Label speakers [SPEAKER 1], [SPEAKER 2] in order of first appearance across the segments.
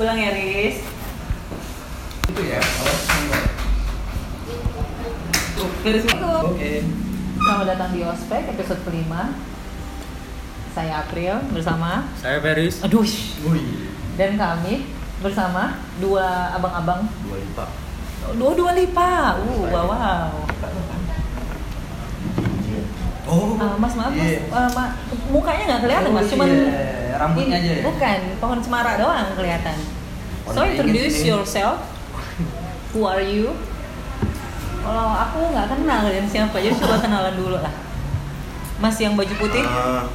[SPEAKER 1] Ulang ya, Riz.
[SPEAKER 2] Itu ya, awas semua.
[SPEAKER 1] Garis
[SPEAKER 2] Oke.
[SPEAKER 3] Oh.
[SPEAKER 1] miku.
[SPEAKER 3] Selamat datang di Ospek episode kelima. Saya April bersama
[SPEAKER 4] Saya Feris.
[SPEAKER 3] Aduh.
[SPEAKER 2] Wih,
[SPEAKER 3] Dan kami bersama dua abang-abang.
[SPEAKER 2] dua lipat.
[SPEAKER 3] Dua dua lipa. Uh, wow. wow.
[SPEAKER 2] Oh,
[SPEAKER 3] Ah, mas maaf mas,
[SPEAKER 2] iya.
[SPEAKER 3] Ah, Ma- mukanya nggak kelihatan
[SPEAKER 2] Oh,
[SPEAKER 3] mas, cuman
[SPEAKER 2] iya. Rambutnya
[SPEAKER 3] ini-
[SPEAKER 2] aja ya?
[SPEAKER 3] Bukan pohon cemara doang kelihatan.
[SPEAKER 2] Orang
[SPEAKER 3] So
[SPEAKER 2] Inggris
[SPEAKER 3] introduce
[SPEAKER 2] nih.
[SPEAKER 3] yourself. Who are you? Kalau aku nggak kenal kalian siapa, jadi coba kenalan dulu lah. Mas yang baju putih,
[SPEAKER 4] Ah,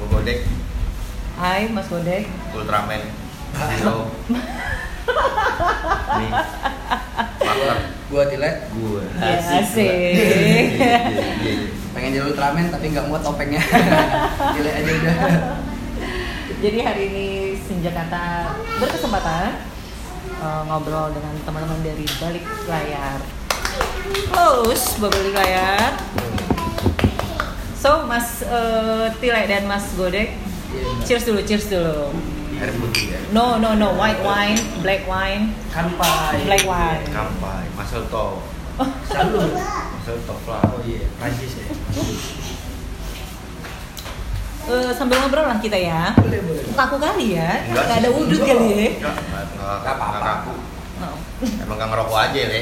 [SPEAKER 4] Gua Godek,
[SPEAKER 3] Hai Mas Godek.
[SPEAKER 4] Ultraman, Zero. Nih. Partner
[SPEAKER 2] Iya. Gua Tilet.
[SPEAKER 4] gue.
[SPEAKER 3] Ya,
[SPEAKER 4] Iya,
[SPEAKER 3] asik.
[SPEAKER 4] iya, iya, iya.
[SPEAKER 2] Pengen jadi Ultraman tapi nggak muat topengnya. Tilet aja udah.
[SPEAKER 3] Jadi hari ini Senjakata berkesempatan eh, ngobrol dengan teman-teman dari balik layar. Close balik layar. So Mas eh, Tile dan Mas Godek,
[SPEAKER 2] Iya, bener.
[SPEAKER 3] cheers dulu, cheers dulu.
[SPEAKER 4] Air putih ya.
[SPEAKER 3] No no no, white wine, black wine,
[SPEAKER 2] Kanpai.
[SPEAKER 3] black wine.
[SPEAKER 4] Kampai, Masel Tov,
[SPEAKER 2] Salut.
[SPEAKER 4] Masel Tov lah.
[SPEAKER 2] Oh iya, Prancis ya.
[SPEAKER 3] Eh, sambil ngobrol lah kita ya.
[SPEAKER 2] Boleh, boleh.
[SPEAKER 3] Kaku kali ya,
[SPEAKER 4] Enggak
[SPEAKER 3] nggak ada
[SPEAKER 4] sih.
[SPEAKER 3] wudut kali ya.
[SPEAKER 4] Enggak, enggak, enggak,
[SPEAKER 2] Nggak apa-apa.
[SPEAKER 4] enggak kaku.
[SPEAKER 3] Oh.
[SPEAKER 4] Emang gak ngerokok aja, Le.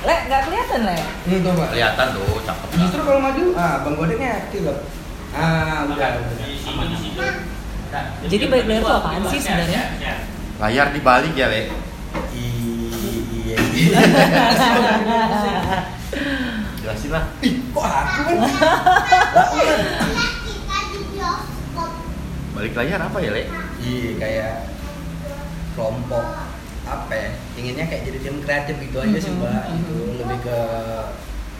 [SPEAKER 3] Le, nggak kelihatan le.
[SPEAKER 2] Ini tuh, Pak.
[SPEAKER 4] Kelihatan tuh, cakep lah.
[SPEAKER 2] Justru kalau maju, ah, Bang Godeknya aktif, Bang. Ah, udah. udah.
[SPEAKER 3] Jadi balik layar itu apaan sih sebenarnya?
[SPEAKER 4] Layar dibalik ya, Le.
[SPEAKER 2] Iya.
[SPEAKER 4] Jelasin lah.
[SPEAKER 2] Kok aku kan?
[SPEAKER 4] Balik layar apa ya, Le?
[SPEAKER 2] Iya kayak kelompok apa ya? Inginnya kayak jadi tim kreatif gitu aja sih
[SPEAKER 3] Mhm,
[SPEAKER 2] mbak. Itu lebih ke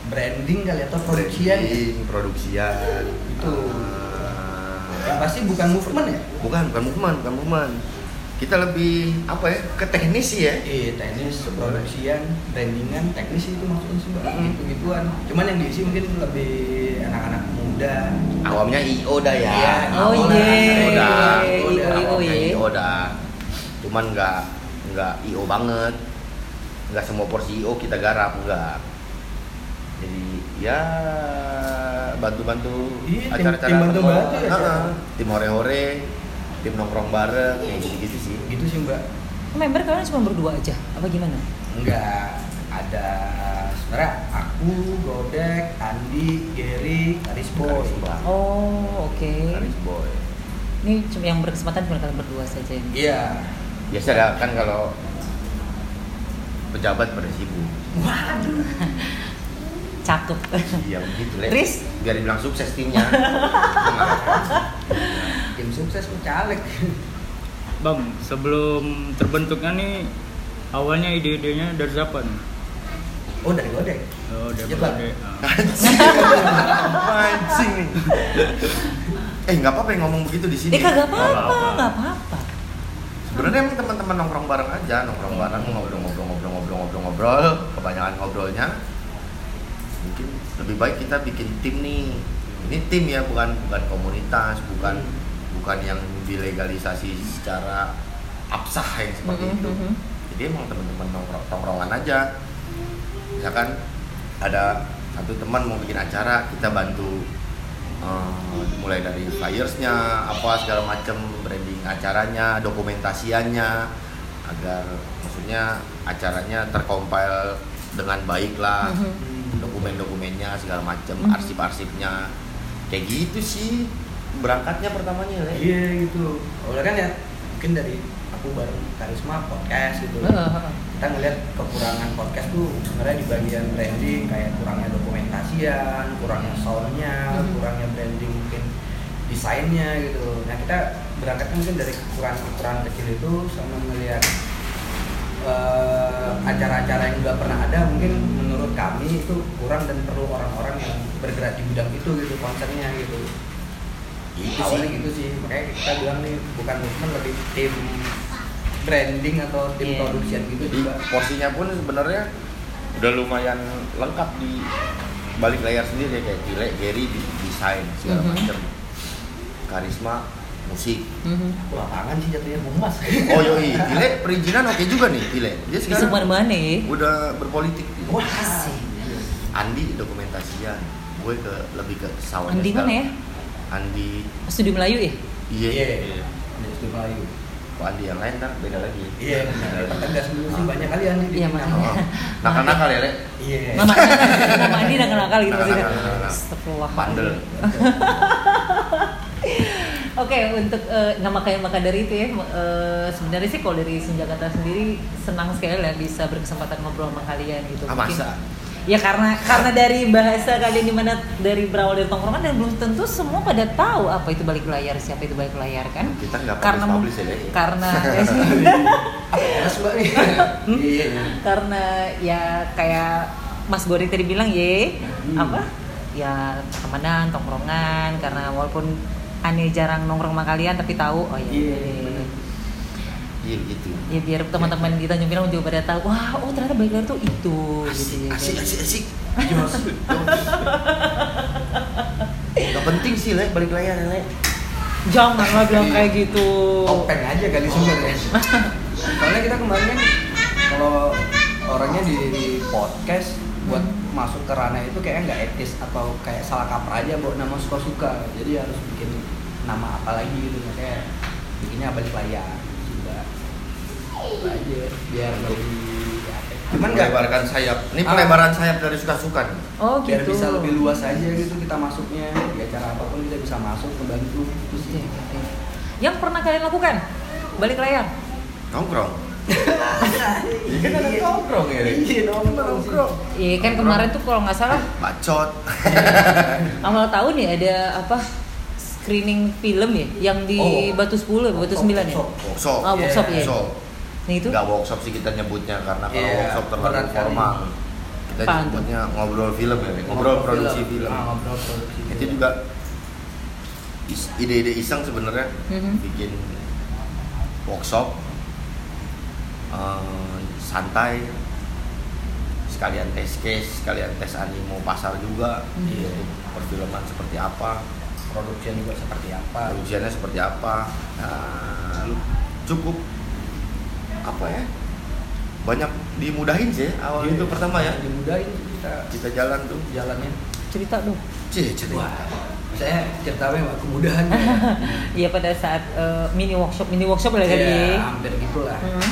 [SPEAKER 2] branding kali ya, atau produksian.
[SPEAKER 4] Branding, produksian.
[SPEAKER 2] Itu.
[SPEAKER 4] Ah.
[SPEAKER 2] Yang pasti bukan movement ya?
[SPEAKER 4] Bukan, bukan movement, bukan movement. Kita lebih apa ya? Ke teknis sih ya.
[SPEAKER 2] Iya teknis, produksian, brandingan, teknis itu maksudnya sih mbak.
[SPEAKER 3] Mm-hmm.
[SPEAKER 2] Gitu gituan. Cuman yang diisi mungkin lebih anak-anak muda.
[SPEAKER 4] Awamnya IO dah ya.
[SPEAKER 2] Iya,
[SPEAKER 3] Oh,
[SPEAKER 2] awal
[SPEAKER 3] iya.
[SPEAKER 2] anak-anak
[SPEAKER 4] IO
[SPEAKER 2] muda.
[SPEAKER 4] dah.
[SPEAKER 2] Awal
[SPEAKER 3] Iya,
[SPEAKER 2] anak-anak
[SPEAKER 3] Oh,
[SPEAKER 4] Awamnya
[SPEAKER 3] iya.
[SPEAKER 4] IO dah. Cuman nggak nggak IO banget. Nggak semua porsi IO kita garap enggak. Jadi ya bantu-bantu
[SPEAKER 2] Iya, tim-
[SPEAKER 4] acara-acara
[SPEAKER 2] tim bantu-bantu
[SPEAKER 4] nongkrong.
[SPEAKER 2] ya,
[SPEAKER 4] Heeh,
[SPEAKER 2] ya.
[SPEAKER 4] tim hore-hore, tim nongkrong bareng, ya gitu-gitu sih.
[SPEAKER 2] Gitu sih mbak.
[SPEAKER 3] Member kalian cuma berdua aja, apa gimana?
[SPEAKER 2] Enggak, ada sebenarnya aku, Godek, Andi, Gary, Aris Boy.
[SPEAKER 4] Karis Boy.
[SPEAKER 3] Oh, oke.
[SPEAKER 2] Iya.
[SPEAKER 4] Karis boy.
[SPEAKER 3] Ini cuma yang berkesempatan cuma kalian berdua saja. yang-
[SPEAKER 2] Iya.
[SPEAKER 4] Biasa dah kan kalau pejabat pada sibuk.
[SPEAKER 2] Waduh.
[SPEAKER 3] Cakep.
[SPEAKER 4] Iya begitu Le.
[SPEAKER 3] Riz?
[SPEAKER 4] Biar dibilang sukses timnya. Nah.
[SPEAKER 2] Tim sukses ku caleg.
[SPEAKER 5] Bang, sebelum terbentuknya nih awalnya ide-idenya dari siapa nih?
[SPEAKER 2] Oh dari Godek. Iya,
[SPEAKER 5] Oh, dari
[SPEAKER 3] Iya,
[SPEAKER 2] Jepang.
[SPEAKER 5] Bang Ade.
[SPEAKER 4] Anjing.
[SPEAKER 5] Ah.
[SPEAKER 4] Anjing nih. Eh nggak apa-apa yang ngomong begitu di sini.
[SPEAKER 3] Eh kagak apa-apa,
[SPEAKER 5] apa-apa.
[SPEAKER 3] nggak apa-apa.
[SPEAKER 4] Sebenarnya emang teman-teman nongkrong bareng aja, nongkrong bareng ngobrol-ngobrol-ngobrol-ngobrol-ngobrol, kebanyakan ngobrolnya. Mungkin lebih baik kita bikin tim nih. Ini tim ya, bukan bukan komunitas, bukan bukan yang dilegalisasi secara absah yang seperti
[SPEAKER 3] Mhm,
[SPEAKER 4] itu.
[SPEAKER 3] mhm.
[SPEAKER 4] Jadi emang teman-teman nongkrong tongkrongan aja. Ya kan? Misalkan ada satu teman mau bikin acara, kita bantu eh, mulai dari flyersnya, apa segala macam branding acaranya, dokumentasiannya, agar maksudnya acaranya terkompil dengan baik lah,
[SPEAKER 3] Mhm.
[SPEAKER 2] Hmm,
[SPEAKER 4] dokumen-dokumennya segala macam,
[SPEAKER 3] Mhm.
[SPEAKER 4] arsip-arsipnya, kayak gitu sih berangkatnya pertamanya Le.
[SPEAKER 2] Iya gitu. Awalnya kan ya mungkin dari aku bareng Karisma podcast gitu.
[SPEAKER 3] Heeh.
[SPEAKER 2] Kita ngeliat kekurangan podcast tuh sebenarnya di bagian branding kayak kurangnya dokumentasian, kurangnya soundnya,
[SPEAKER 3] Hmm.
[SPEAKER 2] kurangnya branding mungkin desainnya gitu. Nah kita berangkatnya mungkin dari kekurangan-kekurangan kecil itu sama ngeliat eh, acara-acara yang nggak pernah ada mungkin menurut kami itu kurang dan perlu orang-orang yang bergerak di bidang itu gitu konsernya gitu
[SPEAKER 4] Gitu
[SPEAKER 2] awalnya
[SPEAKER 4] sih.
[SPEAKER 2] gitu sih makanya kita bilang nih bukan movement lebih tim branding atau tim
[SPEAKER 3] Iya.
[SPEAKER 2] production gitu
[SPEAKER 4] Jadi
[SPEAKER 2] juga
[SPEAKER 4] porsinya pun sebenarnya udah lumayan lengkap di balik layar sendiri ya kayak Gile, Gary di desain segala
[SPEAKER 3] Mhm.
[SPEAKER 4] macam. Karisma musik
[SPEAKER 3] Mhm.
[SPEAKER 2] Aku lapangan sih jatuhnya humas.
[SPEAKER 4] oh yoi Pile perizinan oke juga nih Pile dia
[SPEAKER 3] Di sumber
[SPEAKER 4] sekarang
[SPEAKER 3] mana ya?
[SPEAKER 4] udah berpolitik
[SPEAKER 2] Wah, asik.
[SPEAKER 4] Andi dokumentasian gue ke lebih ke pesawatnya
[SPEAKER 3] Andi mana ya?
[SPEAKER 4] Andi
[SPEAKER 3] Studi Melayu ya?
[SPEAKER 4] iya
[SPEAKER 2] Iya. Ada Studi Melayu.
[SPEAKER 4] Kok Andi yang lain kan beda lagi
[SPEAKER 2] Iya. Kan gas dulu sih banyak kali Andi. di
[SPEAKER 3] Iya,
[SPEAKER 2] Vietnam.
[SPEAKER 3] makanya.
[SPEAKER 4] Oh, nakal-nakal ya Le
[SPEAKER 2] Iya.
[SPEAKER 3] Mama, mama Andi udah kenal kali gitu maksudnya.
[SPEAKER 4] Nakal-nakal, nakal-nakal.
[SPEAKER 3] Astagfirullah.
[SPEAKER 4] bandel
[SPEAKER 3] Oke, untuk eh, nggak makanya maka dari itu ya, eh, sebenarnya sih kalau dari Senjakarta sendiri senang sekali lah bisa berkesempatan ngobrol sama kalian gitu.
[SPEAKER 4] ah
[SPEAKER 3] Mungkin-
[SPEAKER 4] masa
[SPEAKER 3] Ya karena karena dari bahasa kalian dimana dari berawal dari tongkrongan dan belum tentu semua pada tahu apa itu balik layar, siapa itu balik layar kan?
[SPEAKER 4] kita nggak
[SPEAKER 3] Karena
[SPEAKER 4] publish publish ya Le
[SPEAKER 3] karena
[SPEAKER 2] Panas mbak nih. Iya. iya.
[SPEAKER 3] karena ya kayak Mas Gori tadi bilang ye
[SPEAKER 2] Hmm.
[SPEAKER 3] apa ya temenan tongkrongan karena walaupun aneh jarang nongkrong sama kalian tapi tahu oh ya
[SPEAKER 2] Iya, bener.
[SPEAKER 4] iya gitu
[SPEAKER 3] ya biar teman-teman di Tanjung Pinang juga pada tahu wah oh ternyata baik Lair tuh itu gitu,
[SPEAKER 2] Iya,
[SPEAKER 4] asik
[SPEAKER 3] ya,
[SPEAKER 4] asik
[SPEAKER 3] kayak
[SPEAKER 4] asik asik
[SPEAKER 2] Jos.
[SPEAKER 4] Gak penting sih Le balik layar Le
[SPEAKER 3] gitu. jangan lah
[SPEAKER 2] Iya.
[SPEAKER 3] bilang kayak gitu
[SPEAKER 2] Topeng aja kali sebenarnya. Soalnya kita kemarin kan kalau orangnya di, di podcast buat masuk ke ranah itu kayaknya nggak etis atau kayak salah kaprah aja buat nama suka-suka. Jadi harus bikin nama apa lagi gitu kayak bikinnya balik layar juga. Itu aja biar lebih cuman nggak
[SPEAKER 4] Melebarkan sayap Ini
[SPEAKER 2] Ah.
[SPEAKER 4] pelebaran sayap dari suka-suka nih
[SPEAKER 3] oh gitu
[SPEAKER 2] biar bisa lebih luas aja gitu kita masuknya di acara apapun kita bisa masuk membantu itu sih
[SPEAKER 3] Iya, iya. yang pernah kalian lakukan balik layar
[SPEAKER 4] Nongkrong
[SPEAKER 2] Iya kan ada nongkrong ya Iya nongkrong
[SPEAKER 4] Nongkrong.
[SPEAKER 3] Iya kan kemarin tuh kalau nggak salah
[SPEAKER 4] Bacot
[SPEAKER 3] awal tahun ya ada apa screening film ya yang di
[SPEAKER 2] Oh.
[SPEAKER 3] Batu 10 ya, Batu 9 ya.
[SPEAKER 4] Workshop
[SPEAKER 3] Ah, workshop
[SPEAKER 2] Iya.
[SPEAKER 3] ya.
[SPEAKER 4] Workshop
[SPEAKER 3] Nah itu
[SPEAKER 4] Nggak workshop sih kita nyebutnya Karena kalau
[SPEAKER 2] Iya,
[SPEAKER 4] workshop terlalu
[SPEAKER 2] berat kali.
[SPEAKER 4] formal Kita
[SPEAKER 3] Apaan tuh?
[SPEAKER 4] nyebutnya ngobrol film ya Le. Ngobrol produksi film
[SPEAKER 2] Ah, ngobrol produksi
[SPEAKER 4] Itu juga is- ide-ide iseng sebenarnya
[SPEAKER 3] Mhm.
[SPEAKER 4] Bikin workshop eh, Santai sekalian tes case, sekalian tes animo pasar juga,
[SPEAKER 3] Mhm.
[SPEAKER 4] Iya, perfilman seperti apa,
[SPEAKER 2] produksi juga seperti apa
[SPEAKER 4] ujiannya seperti apa nah, lu cukup apa ya banyak dimudahin sih awal
[SPEAKER 2] Iya.
[SPEAKER 4] itu pertama ya
[SPEAKER 2] dimudahin kita
[SPEAKER 4] kita jalan tuh
[SPEAKER 2] jalannya
[SPEAKER 3] cerita dong.
[SPEAKER 4] cie cerita
[SPEAKER 2] wah saya ceritanya mah kemudahan ya
[SPEAKER 3] Iya pada saat eh, mini workshop mini workshop
[SPEAKER 4] Iya,
[SPEAKER 3] lah kali.
[SPEAKER 2] Ya,
[SPEAKER 3] ya.
[SPEAKER 2] hampir gitulah
[SPEAKER 3] Hmm.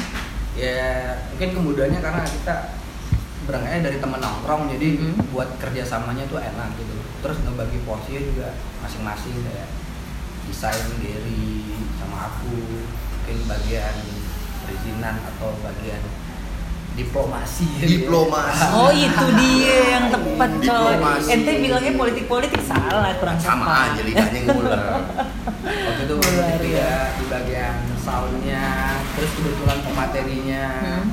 [SPEAKER 2] ya mungkin kemudahannya karena kita berangkatnya dari temen nongkrong jadi
[SPEAKER 3] Mhm.
[SPEAKER 4] Mm-hmm.
[SPEAKER 2] buat kerjasamanya tuh enak gitu terus ngebagi porsinya juga masing-masing kayak desain Gary sama aku mungkin bagian perizinan atau bagian diplomasi gitu ya.
[SPEAKER 4] Diplomasi.
[SPEAKER 3] Oh itu dia yang tepat coy.
[SPEAKER 4] Diplomasi.
[SPEAKER 3] Ente bilangnya politik politik salah kurang
[SPEAKER 4] sama
[SPEAKER 3] tepat.
[SPEAKER 4] aja lidahnya nguler
[SPEAKER 2] waktu itu
[SPEAKER 3] Luar
[SPEAKER 2] gitu ya di bagian soundnya terus kebetulan pematerinya
[SPEAKER 3] Hmm.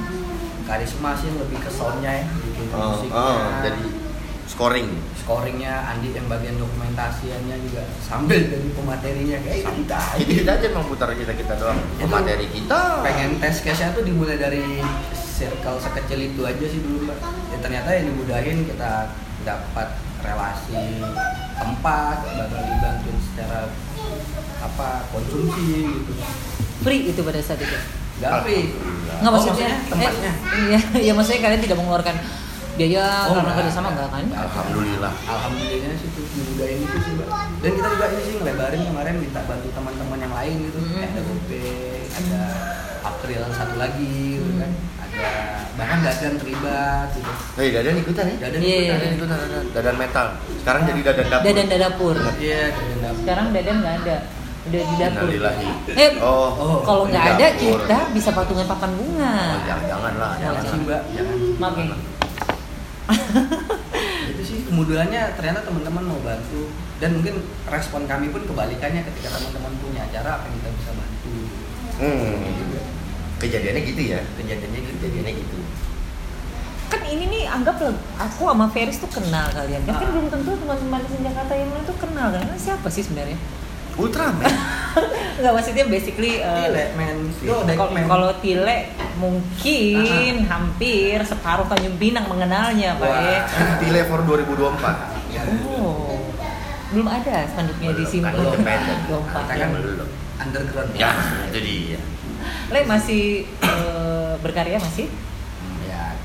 [SPEAKER 2] karisma sih lebih ke soundnya ya bikin
[SPEAKER 4] Mm-hmm. oh,
[SPEAKER 2] musiknya
[SPEAKER 4] oh, jadi scoring
[SPEAKER 2] scoringnya Andi yang bagian dokumentasiannya juga sambil dari pematerinya kayak gitu. kita
[SPEAKER 4] jadi kita aja emang putar kita kita doang
[SPEAKER 2] Itu
[SPEAKER 4] materi kita
[SPEAKER 2] pengen tes case nya tuh dimulai dari circle sekecil itu aja sih dulu mbak ya ternyata yang dimudahin kita dapat relasi tempat bakal dibantu secara apa konsumsi gitu
[SPEAKER 3] Free itu pada saat itu.
[SPEAKER 2] tapi
[SPEAKER 4] Oh,
[SPEAKER 3] Nggak maksudnya,
[SPEAKER 2] tempatnya
[SPEAKER 3] eh, iya, iya maksudnya kalian tidak mengeluarkan biaya
[SPEAKER 2] Oh,
[SPEAKER 3] karena
[SPEAKER 2] nggak.
[SPEAKER 3] kerjasama enggak kan?
[SPEAKER 4] alhamdulillah
[SPEAKER 2] alhamdulillahnya sih tuh dimudahin itu sih mbak dan kita juga ini sih ngelebarin kemarin minta bantu teman-teman yang lain gitu
[SPEAKER 3] Mhm.
[SPEAKER 2] Kayak ada Gope ada April satu lagi gitu
[SPEAKER 3] Mm-hmm.
[SPEAKER 2] kan ada bahkan Dadan terlibat gitu
[SPEAKER 4] Hei, dadan ikutan ya?
[SPEAKER 2] Dadan
[SPEAKER 3] Iya,
[SPEAKER 2] ikutan.
[SPEAKER 3] iya,
[SPEAKER 4] Dadan ikutan, dadan. Dadan metal. Sekarang jadi dadan dapur.
[SPEAKER 3] Dadan dan dapur.
[SPEAKER 2] iya Dadan dapur.
[SPEAKER 3] Sekarang dadan nggak ada. Udah di dapur.
[SPEAKER 4] Innalillahi.
[SPEAKER 3] Eh,
[SPEAKER 4] Oh,
[SPEAKER 2] Oh,
[SPEAKER 3] Kalau
[SPEAKER 4] di
[SPEAKER 3] nggak ada
[SPEAKER 4] dapur.
[SPEAKER 3] kita bisa patungan papan bunga.
[SPEAKER 4] Oh, jangan, jangan lah,
[SPEAKER 2] jangan
[SPEAKER 4] jangan.
[SPEAKER 2] sih mbak jangan
[SPEAKER 3] Maaf ya.
[SPEAKER 2] itu sih kemudahannya ternyata teman-teman mau bantu dan mungkin respon kami pun kebalikannya ketika teman-teman punya acara apa yang kita bisa bantu
[SPEAKER 4] Hmm. Kejadiannya gitu ya.
[SPEAKER 2] kejadiannya gitu
[SPEAKER 4] Kejadiannya gitu.
[SPEAKER 3] Kan ini nih anggaplah aku sama Feris tuh kenal kalian. Ya kan
[SPEAKER 2] Ah.
[SPEAKER 3] belum tentu teman-teman di Jakarta yang lain tuh kenal kan. Kan siapa sih sebenarnya?
[SPEAKER 4] Ultraman.
[SPEAKER 3] Nggak maksudnya basically eh,
[SPEAKER 2] Tile, Oh, men. Yo,
[SPEAKER 3] kalau-
[SPEAKER 2] dek, men.
[SPEAKER 3] kalau Tile mungkin hampir separuh Tanjung Pinang mengenalnya, Pak.
[SPEAKER 2] Wah.
[SPEAKER 3] ya.
[SPEAKER 2] Iya.
[SPEAKER 4] Tile for 2024.
[SPEAKER 2] Ya.
[SPEAKER 3] Oh. belum ada spanduknya di
[SPEAKER 4] Belum,
[SPEAKER 3] sini
[SPEAKER 4] kan
[SPEAKER 3] belum
[SPEAKER 4] independen.
[SPEAKER 3] belum Pak.
[SPEAKER 4] Kita kan belum.
[SPEAKER 2] ya. underground
[SPEAKER 4] Ya, itu dia.
[SPEAKER 3] Le masih eh, berkarya masih
[SPEAKER 4] Hmm, Ya,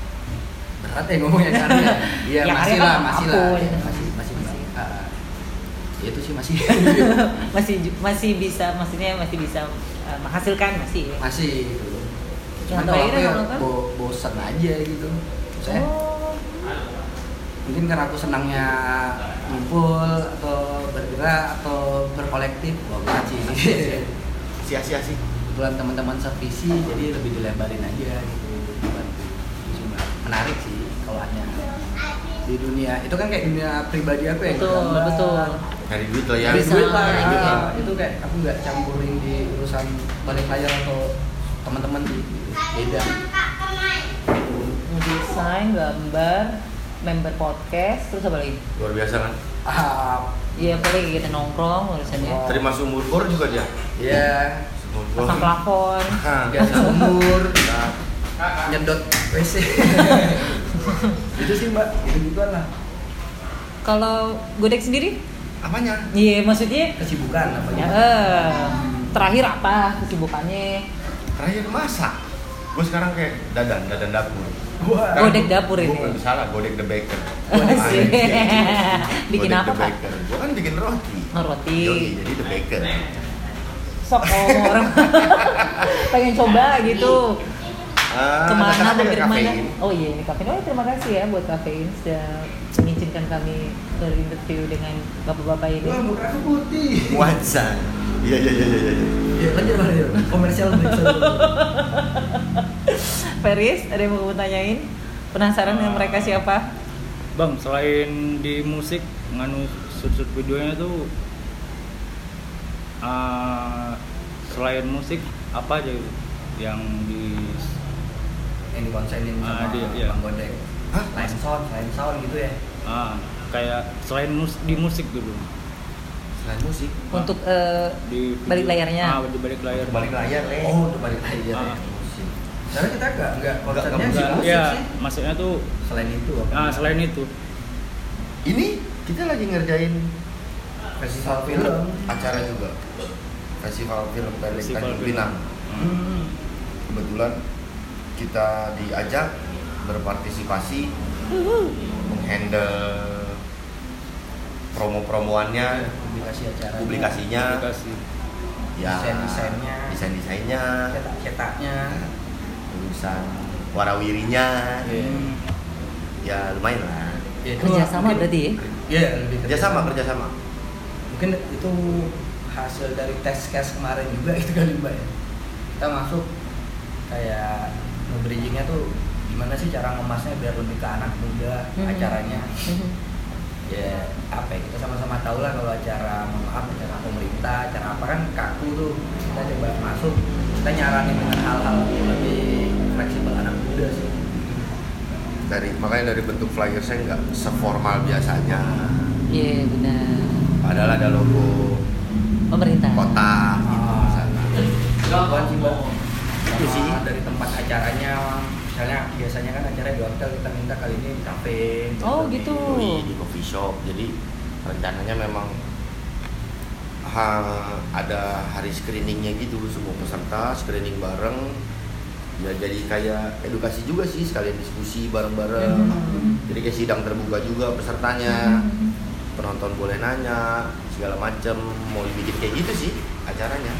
[SPEAKER 2] berat ya ngomongnya kan ya,
[SPEAKER 3] Ya,
[SPEAKER 2] masih
[SPEAKER 3] karya
[SPEAKER 2] lah
[SPEAKER 3] kan
[SPEAKER 2] masih lah
[SPEAKER 3] apapun.
[SPEAKER 2] Ya, masih masih
[SPEAKER 3] Masih.
[SPEAKER 2] masih Ah, ya itu sih masih
[SPEAKER 3] masih ju- masih bisa maksudnya masih bisa eh, menghasilkan masih ya?
[SPEAKER 2] masih gitu
[SPEAKER 3] Yang
[SPEAKER 2] cuman kalau aku
[SPEAKER 3] terakhir
[SPEAKER 2] ya
[SPEAKER 3] yang apa?
[SPEAKER 2] bo- bosan aja gitu saya
[SPEAKER 3] Oh,
[SPEAKER 2] mungkin karena aku senangnya ngumpul atau bergerak atau berkolektif wah gaji
[SPEAKER 4] sia-sia sih.
[SPEAKER 2] kebetulan teman-teman sevisi Iya, jadi lebih dilebarin aja gitu dibantu. Cuma menarik sih kalau hanya di dunia itu kan kayak dunia pribadi aku ya
[SPEAKER 3] betul
[SPEAKER 2] gambar.
[SPEAKER 3] betul
[SPEAKER 4] Nyari duit lah ya.
[SPEAKER 2] Dari
[SPEAKER 3] Bisa,
[SPEAKER 2] duit lah,
[SPEAKER 3] dari
[SPEAKER 2] ah,
[SPEAKER 3] duit ya.
[SPEAKER 2] itu kayak aku nggak campurin di urusan balik layar atau teman-teman di beda
[SPEAKER 3] desain gambar member podcast terus apa lagi
[SPEAKER 4] Luar biasa kan.
[SPEAKER 2] ah
[SPEAKER 3] Iya, apalagi kita nongkrong urusannya.
[SPEAKER 4] Terima seumur umur juga dia.
[SPEAKER 2] ya
[SPEAKER 4] Seumur
[SPEAKER 3] Pasang plafon.
[SPEAKER 4] Hah.
[SPEAKER 2] nggak seumur
[SPEAKER 4] Nah,
[SPEAKER 2] nyedot wc itu sih mbak itu gitu lah
[SPEAKER 3] Kalau godek sendiri?
[SPEAKER 4] Apanya?
[SPEAKER 3] Iya, maksudnya
[SPEAKER 2] kesibukan apa
[SPEAKER 3] ya,
[SPEAKER 2] gitu
[SPEAKER 3] eh, terakhir apa kesibukannya?
[SPEAKER 4] Terakhir masak. Gue sekarang kayak dadan, dadan dapur.
[SPEAKER 2] Wah.
[SPEAKER 4] Sekarang
[SPEAKER 3] Godek
[SPEAKER 4] gua-
[SPEAKER 3] dapur ini.
[SPEAKER 4] Gua belum Kan salah, godek the baker. Ah, iya,
[SPEAKER 3] Asik. Bikin apa, Pak? Oh,
[SPEAKER 4] Gue kan bikin roti.
[SPEAKER 3] Ngeroti.
[SPEAKER 4] Yoi, jadi the baker.
[SPEAKER 3] Sok kalau orang pengen coba gitu.
[SPEAKER 4] Ah,
[SPEAKER 3] Kemana
[SPEAKER 4] rata-rata
[SPEAKER 3] mampir
[SPEAKER 4] pakai
[SPEAKER 3] kemana?
[SPEAKER 4] kafein.
[SPEAKER 3] Oh iya, ini kafein. Oh, terima kasih ya buat kafein sudah mengizinkan kami berinterview dengan bapak-bapak ini.
[SPEAKER 2] Wah, muka aku putih.
[SPEAKER 4] Wajan. Iya iya iya iya. iya.
[SPEAKER 2] Ya, lanjut lanjut. Komersial break dulu.
[SPEAKER 3] Feris, ada yang mau kamu tanyain? Penasaran dengan mereka siapa?
[SPEAKER 5] Bang, selain di musik, nganu shoot-shoot videonya tuh eh, selain musik apa aja gitu yang di
[SPEAKER 2] Yang dikonsenin sama
[SPEAKER 5] Ah, dia- iya.
[SPEAKER 2] Bang Godek.
[SPEAKER 4] Hah?
[SPEAKER 2] Lain sound, lain sound gitu ya.
[SPEAKER 5] ah, kayak selain mus- di musik dulu
[SPEAKER 4] Selain musik.
[SPEAKER 3] Untuk eh,
[SPEAKER 5] di
[SPEAKER 3] Balik layarnya?
[SPEAKER 5] ah, di balik layar
[SPEAKER 4] Untuk balik layar, Le.
[SPEAKER 2] Oh, untuk balik layar. ya.
[SPEAKER 5] Ah.
[SPEAKER 2] Karena kita enggak enggak konsernya
[SPEAKER 4] nggak
[SPEAKER 2] di
[SPEAKER 5] Enggak,
[SPEAKER 4] musik
[SPEAKER 2] musik
[SPEAKER 5] ya
[SPEAKER 2] sih.
[SPEAKER 5] maksudnya tuh
[SPEAKER 2] Selain itu apa?
[SPEAKER 5] ah, selain itu
[SPEAKER 4] Ini kita lagi ngerjain
[SPEAKER 2] festival film.
[SPEAKER 4] acara juga. Festival film dari
[SPEAKER 5] Festival
[SPEAKER 4] Tanjung
[SPEAKER 5] film.
[SPEAKER 4] Pinang.
[SPEAKER 5] Hmm.
[SPEAKER 2] Hmm.
[SPEAKER 4] Kebetulan kita diajak berpartisipasi menghandle promo-promoannya,
[SPEAKER 2] Publikasi acara.
[SPEAKER 4] publikasinya,
[SPEAKER 5] aplikasi
[SPEAKER 4] ya
[SPEAKER 2] Desain-desainnya.
[SPEAKER 4] desain-desainnya,
[SPEAKER 2] Cetak-cetaknya.
[SPEAKER 4] nah, urusan warawirinya,
[SPEAKER 5] Iya.
[SPEAKER 2] Hmm.
[SPEAKER 4] ya lumayan lah.
[SPEAKER 2] Ya, itu
[SPEAKER 3] kerjasama
[SPEAKER 2] mungkin-
[SPEAKER 3] berarti ya?
[SPEAKER 2] Iya, lebih
[SPEAKER 4] Kerjasama, kerjasama.
[SPEAKER 2] mungkin itu hasil dari tes case kemarin juga itu kali mbak ya kita masuk kayak nge-bridgingnya tuh gimana sih cara ngemasnya biar lebih ke anak muda
[SPEAKER 3] Mhm.
[SPEAKER 2] acaranya
[SPEAKER 4] Mm-hmm.
[SPEAKER 3] Mhm.
[SPEAKER 2] ya apa ya kita sama-sama tahu lah kalau acara mohon maaf acara pemerintah acara apa kan kaku tuh kita coba masuk kita nyaranin dengan hal-hal yang lebih fleksibel anak muda sih
[SPEAKER 4] dari makanya dari bentuk flyersnya nggak seformal biasanya
[SPEAKER 3] Iya benar.
[SPEAKER 4] padahal ada logo
[SPEAKER 3] Pemerintah.
[SPEAKER 4] kota gitu
[SPEAKER 2] Ah.
[SPEAKER 4] misalnya
[SPEAKER 2] Bukan sih mbak
[SPEAKER 4] Itu
[SPEAKER 2] Sama
[SPEAKER 4] sih.
[SPEAKER 2] dari tempat acaranya misalnya biasanya kan acara di hotel kita minta kali ini di kafe
[SPEAKER 3] Oh,
[SPEAKER 2] di-
[SPEAKER 3] gitu.
[SPEAKER 4] di, di coffee shop jadi rencananya memang ha- ada hari screeningnya gitu semua peserta screening bareng ya jadi kayak edukasi juga sih sekalian diskusi bareng-bareng
[SPEAKER 3] Mhm.
[SPEAKER 4] jadi kayak sidang terbuka juga pesertanya
[SPEAKER 2] Mhm.
[SPEAKER 4] penonton boleh nanya segala macam mau dibikin kayak gitu sih acaranya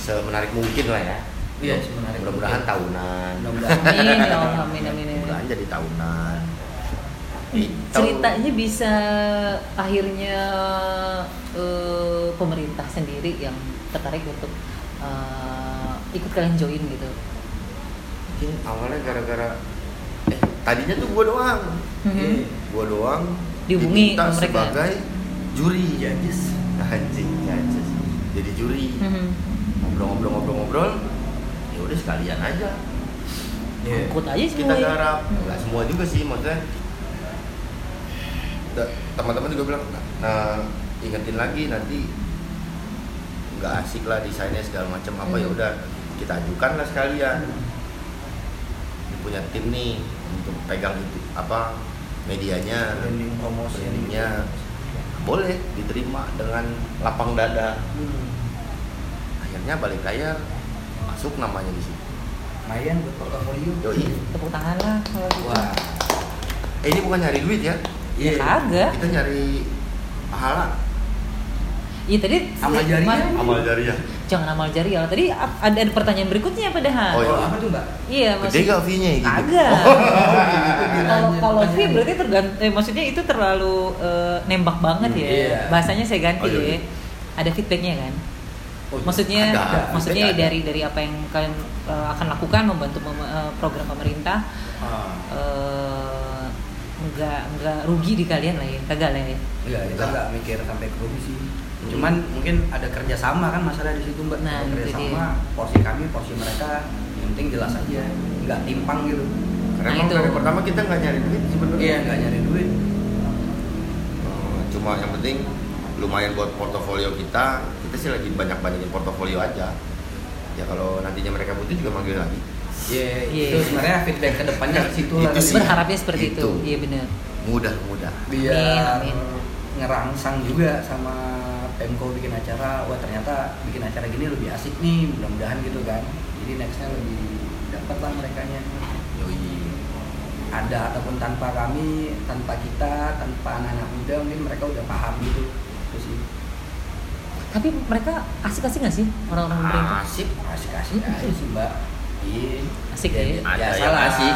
[SPEAKER 4] semenarik mungkin lah ya
[SPEAKER 2] Iya, semenarik
[SPEAKER 4] mudah-mudahan
[SPEAKER 2] mungkin.
[SPEAKER 4] tahunan
[SPEAKER 2] Mudah-mudahan.
[SPEAKER 3] Amin ya Allah, amin amin
[SPEAKER 4] mudah-mudahan
[SPEAKER 3] amin.
[SPEAKER 4] jadi tahunan Itu-
[SPEAKER 3] Ceritanya bisa akhirnya eh, pemerintah sendiri yang tertarik untuk eh, ikut kalian join gitu.
[SPEAKER 4] mungkin awalnya gara-gara eh tadinya tuh gua doang
[SPEAKER 3] Mhm.
[SPEAKER 4] gua doang
[SPEAKER 3] Dihubungi sama
[SPEAKER 4] diminta
[SPEAKER 3] mereka.
[SPEAKER 4] sebagai juri ya Jis. anjing ya Jis. jadi juri
[SPEAKER 3] Mhm.
[SPEAKER 4] ngobrol-ngobrol-ngobrol-ngobrol ya udah sekalian aja
[SPEAKER 2] Iya.
[SPEAKER 3] Ikut aja semua.
[SPEAKER 4] kita
[SPEAKER 3] ya.
[SPEAKER 4] garap nggak semua juga sih maksudnya Da- teman-teman juga bilang "Nah, nah ingetin lagi nanti nggak asik lah desainnya segala macam apa
[SPEAKER 3] Hmm.
[SPEAKER 4] ya udah kita ajukan lah sekalian Ini punya tim nih untuk pegang itu apa medianya
[SPEAKER 2] branding promotion
[SPEAKER 4] brandingnya boleh diterima dengan lapang dada
[SPEAKER 3] Hmm.
[SPEAKER 4] akhirnya balik layar masuk namanya di situ
[SPEAKER 2] Lumayan buat portofolio.
[SPEAKER 4] Yoi.
[SPEAKER 3] tepuk tangan lah kalau gitu
[SPEAKER 2] Wah.
[SPEAKER 4] eh ini bukan nyari duit ya
[SPEAKER 3] ya kagak
[SPEAKER 4] kita nyari pahala
[SPEAKER 3] iya tadi
[SPEAKER 2] Amal jariah.
[SPEAKER 3] Mar-
[SPEAKER 4] amal jariah
[SPEAKER 3] jangan amal jariah tadi ap- ada ada pertanyaan berikutnya padahal
[SPEAKER 4] Oh,
[SPEAKER 2] Oh,
[SPEAKER 4] iya.
[SPEAKER 2] apa tuh, Mbak?
[SPEAKER 3] iya
[SPEAKER 4] gede
[SPEAKER 3] maksudnya
[SPEAKER 4] gak fee-nya gitu
[SPEAKER 3] kagak
[SPEAKER 2] gitu
[SPEAKER 3] kalau
[SPEAKER 2] bilangnya,
[SPEAKER 4] Iya,
[SPEAKER 3] kalau fee
[SPEAKER 2] pertanyaannya.
[SPEAKER 3] berarti tergantung eh, maksudnya itu terlalu eh, nembak banget ya
[SPEAKER 2] Iya.
[SPEAKER 3] bahasanya saya ganti
[SPEAKER 4] Oh,
[SPEAKER 3] ya
[SPEAKER 4] iya.
[SPEAKER 3] ada feedbacknya kan
[SPEAKER 2] Oh, iya.
[SPEAKER 3] maksudnya
[SPEAKER 4] Ada,
[SPEAKER 3] maksudnya
[SPEAKER 4] feedback ada.
[SPEAKER 3] dari dari apa yang kalian eh, akan lakukan membantu mem- eh, program pemerintah
[SPEAKER 2] Ah.
[SPEAKER 3] eh, nggak nggak rugi di kalian lah ya kagak lah ya
[SPEAKER 4] Iya.
[SPEAKER 2] Enggak, kita
[SPEAKER 4] Enggak.
[SPEAKER 2] enggak mikir sampai ke rugi sih. Cuman mungkin ada kerjasama kan masalah di situ mbak.
[SPEAKER 3] Nah,
[SPEAKER 2] Ada
[SPEAKER 3] itu
[SPEAKER 2] kerjasama porsi kami, porsi mereka, yang penting jelas aja, nggak timpang gitu.
[SPEAKER 4] karena
[SPEAKER 3] Nah,
[SPEAKER 4] emang
[SPEAKER 3] itu.
[SPEAKER 4] dari pertama kita nggak nyari duit sebenarnya
[SPEAKER 2] Iya, nggak nyari duit.
[SPEAKER 4] Eh, cuma yang penting lumayan buat portofolio kita kita sih lagi banyak banyakin portofolio aja ya kalau nantinya mereka butuh juga manggil lagi
[SPEAKER 2] Iya,
[SPEAKER 3] Iya.
[SPEAKER 2] itu sebenarnya feedback kedepannya ke situ lah.
[SPEAKER 4] Itu sih.
[SPEAKER 2] tadi.
[SPEAKER 3] berharapnya seperti itu,
[SPEAKER 4] Itu.
[SPEAKER 3] iya benar
[SPEAKER 4] mudah mudah
[SPEAKER 2] Biar
[SPEAKER 3] Amin, amin.
[SPEAKER 2] ngerangsang juga sama Pemko bikin acara, wah ternyata bikin acara gini lebih asik nih, mudah-mudahan gitu kan. Jadi nextnya lebih dapat lah merekanya.
[SPEAKER 4] yoi
[SPEAKER 2] ada ataupun tanpa kami, tanpa kita, tanpa anak-anak muda mungkin mereka udah paham gitu. Itu sih
[SPEAKER 3] tapi mereka asik-asik nggak sih orang-orang
[SPEAKER 4] Ah.
[SPEAKER 3] pemerintah
[SPEAKER 4] asik
[SPEAKER 2] asik-asik aja sih mbak. Iya.
[SPEAKER 3] Hmm. Asik ya?
[SPEAKER 2] Jadi,
[SPEAKER 4] Ada
[SPEAKER 2] biasa
[SPEAKER 4] yang
[SPEAKER 2] lah.
[SPEAKER 4] asik.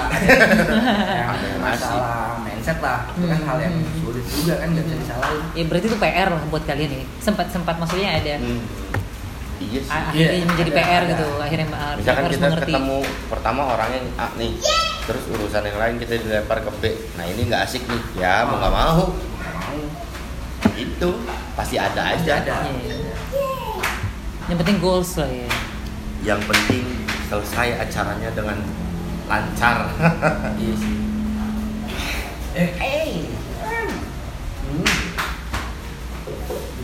[SPEAKER 2] Ada yang masalah mindset lah. Itu kan
[SPEAKER 3] Hmm.
[SPEAKER 2] hal yang sulit juga kan nggak bisa disalahin.
[SPEAKER 3] ya berarti itu PR lah buat kalian ya sempat sempat maksudnya ada
[SPEAKER 4] Hmm. iya sih
[SPEAKER 3] a-
[SPEAKER 2] Iya,
[SPEAKER 3] akhirnya menjadi
[SPEAKER 2] ada,
[SPEAKER 3] PR
[SPEAKER 2] ada.
[SPEAKER 3] gitu akhirnya ma-
[SPEAKER 4] misalkan
[SPEAKER 3] Ah, harus
[SPEAKER 4] kita
[SPEAKER 3] mengerti
[SPEAKER 4] ketemu pertama orangnya A nih terus urusan yang lain kita dilempar ke B nah ini nggak asik nih ya
[SPEAKER 3] Ah.
[SPEAKER 4] mau nggak mau
[SPEAKER 2] Nggak Mau.
[SPEAKER 4] itu pasti ada
[SPEAKER 2] Pasti
[SPEAKER 4] aja
[SPEAKER 2] ada.
[SPEAKER 3] Iya, iya. yang penting goals lah ya
[SPEAKER 4] yang penting selesai acaranya dengan lancar
[SPEAKER 2] Iya sih. Eh. Hmm.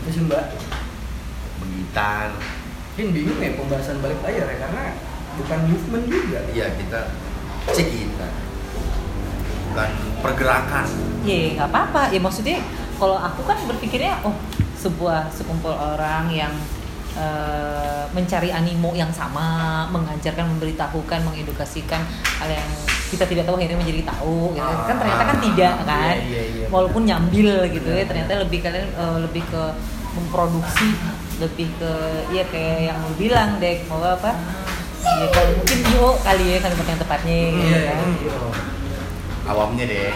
[SPEAKER 2] Itu sih mbak.
[SPEAKER 4] begitan
[SPEAKER 2] Mungkin bingung ya pembahasan balik layar ya karena bukan movement juga.
[SPEAKER 4] iya kita cek kita bukan pergerakan
[SPEAKER 3] ya nggak apa-apa ya maksudnya kalau aku kan berpikirnya oh sebuah sekumpul orang yang eh, mencari animo yang sama mengajarkan memberitahukan mengedukasikan hal yang kita tidak tahu akhirnya menjadi tahu gitu. kan ternyata kan tidak kan
[SPEAKER 2] Iya, iya, iya.
[SPEAKER 3] walaupun nyambil gitu ya
[SPEAKER 2] Benar.
[SPEAKER 3] ternyata lebih kalian eh, lebih ke memproduksi lebih ke ya kayak yang lu bilang dek mau apa ya kalau mungkin yo kali ya kalimat yang tepatnya
[SPEAKER 4] Hmm.
[SPEAKER 3] gitu
[SPEAKER 2] Iya.
[SPEAKER 3] kan.
[SPEAKER 2] iya.
[SPEAKER 4] awamnya deh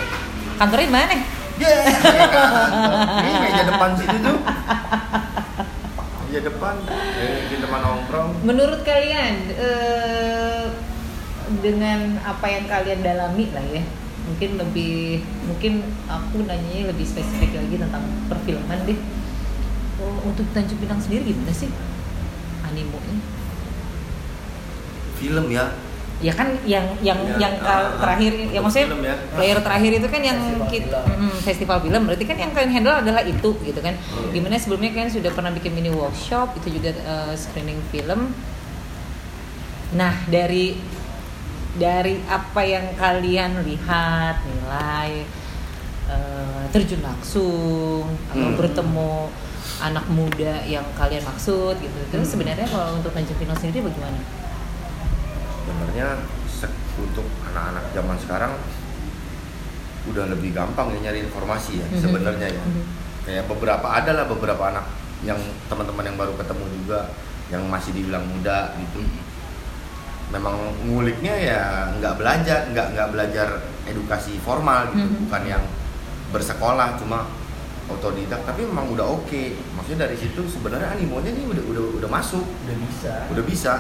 [SPEAKER 3] kantornya di mana
[SPEAKER 4] Yeah. Ini meja depan situ tuh. Meja depan, eh, di depan nongkrong.
[SPEAKER 3] menurut kalian eh, dengan apa yang kalian dalami lah ya mungkin lebih mungkin aku nanyanya lebih spesifik lagi tentang perfilman deh Oh, untuk Tanjung Pinang sendiri gimana sih animonya
[SPEAKER 4] Film ya.
[SPEAKER 3] ya kan yang yang
[SPEAKER 4] Ya,
[SPEAKER 3] yang kal-
[SPEAKER 4] ah, ah,
[SPEAKER 3] terakhir
[SPEAKER 4] untuk
[SPEAKER 3] ya maksudnya
[SPEAKER 4] film ya.
[SPEAKER 3] player terakhir itu kan yang
[SPEAKER 2] Festival
[SPEAKER 3] kit-
[SPEAKER 2] film.
[SPEAKER 3] mm, festival film berarti kan yang kalian handle adalah itu gitu kan
[SPEAKER 4] Hmm.
[SPEAKER 3] gimana sebelumnya kalian sudah pernah bikin mini workshop itu juga eh, screening film nah dari dari apa yang kalian lihat nilai eh, terjun langsung atau
[SPEAKER 4] Hmm.
[SPEAKER 3] bertemu anak muda yang kalian maksud gitu terus
[SPEAKER 4] Hmm.
[SPEAKER 3] sebenarnya kalau untuk Tanjung Pinang sendiri bagaimana?
[SPEAKER 4] Sebenarnya se- untuk anak-anak zaman sekarang udah lebih gampang ya nyari informasi ya
[SPEAKER 3] Mhm.
[SPEAKER 4] sebenarnya ya.
[SPEAKER 3] Mhm.
[SPEAKER 4] Kayak beberapa adalah beberapa anak yang teman-teman yang baru ketemu juga yang masih dibilang muda gitu. Memang nguliknya ya nggak belajar, nggak nggak belajar edukasi formal gitu,
[SPEAKER 3] Mhm.
[SPEAKER 4] bukan yang bersekolah cuma otodidak tapi memang udah oke. Maksudnya dari situ sebenarnya animonya nih udah udah udah masuk
[SPEAKER 2] udah bisa
[SPEAKER 4] udah bisa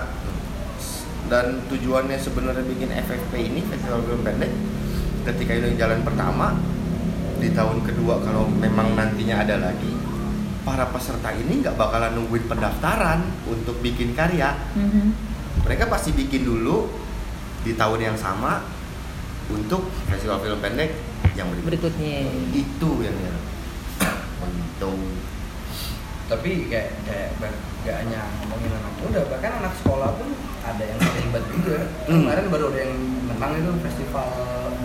[SPEAKER 4] dan tujuannya sebenarnya bikin FFP ini festival film pendek ketika ini jalan pertama di tahun kedua kalau memang nantinya ada lagi para peserta ini nggak bakalan nungguin pendaftaran untuk bikin karya
[SPEAKER 3] Mm-hmm.
[SPEAKER 4] mereka pasti bikin dulu di tahun yang sama untuk festival film pendek yang berikutnya
[SPEAKER 3] berikutnya
[SPEAKER 4] itu yang ya. itu
[SPEAKER 2] tapi kayak kayak Bang nggak hanya ngomongin anak muda bahkan anak sekolah pun ada yang terlibat juga
[SPEAKER 4] Hmm.
[SPEAKER 2] kemarin baru ada yang menang itu festival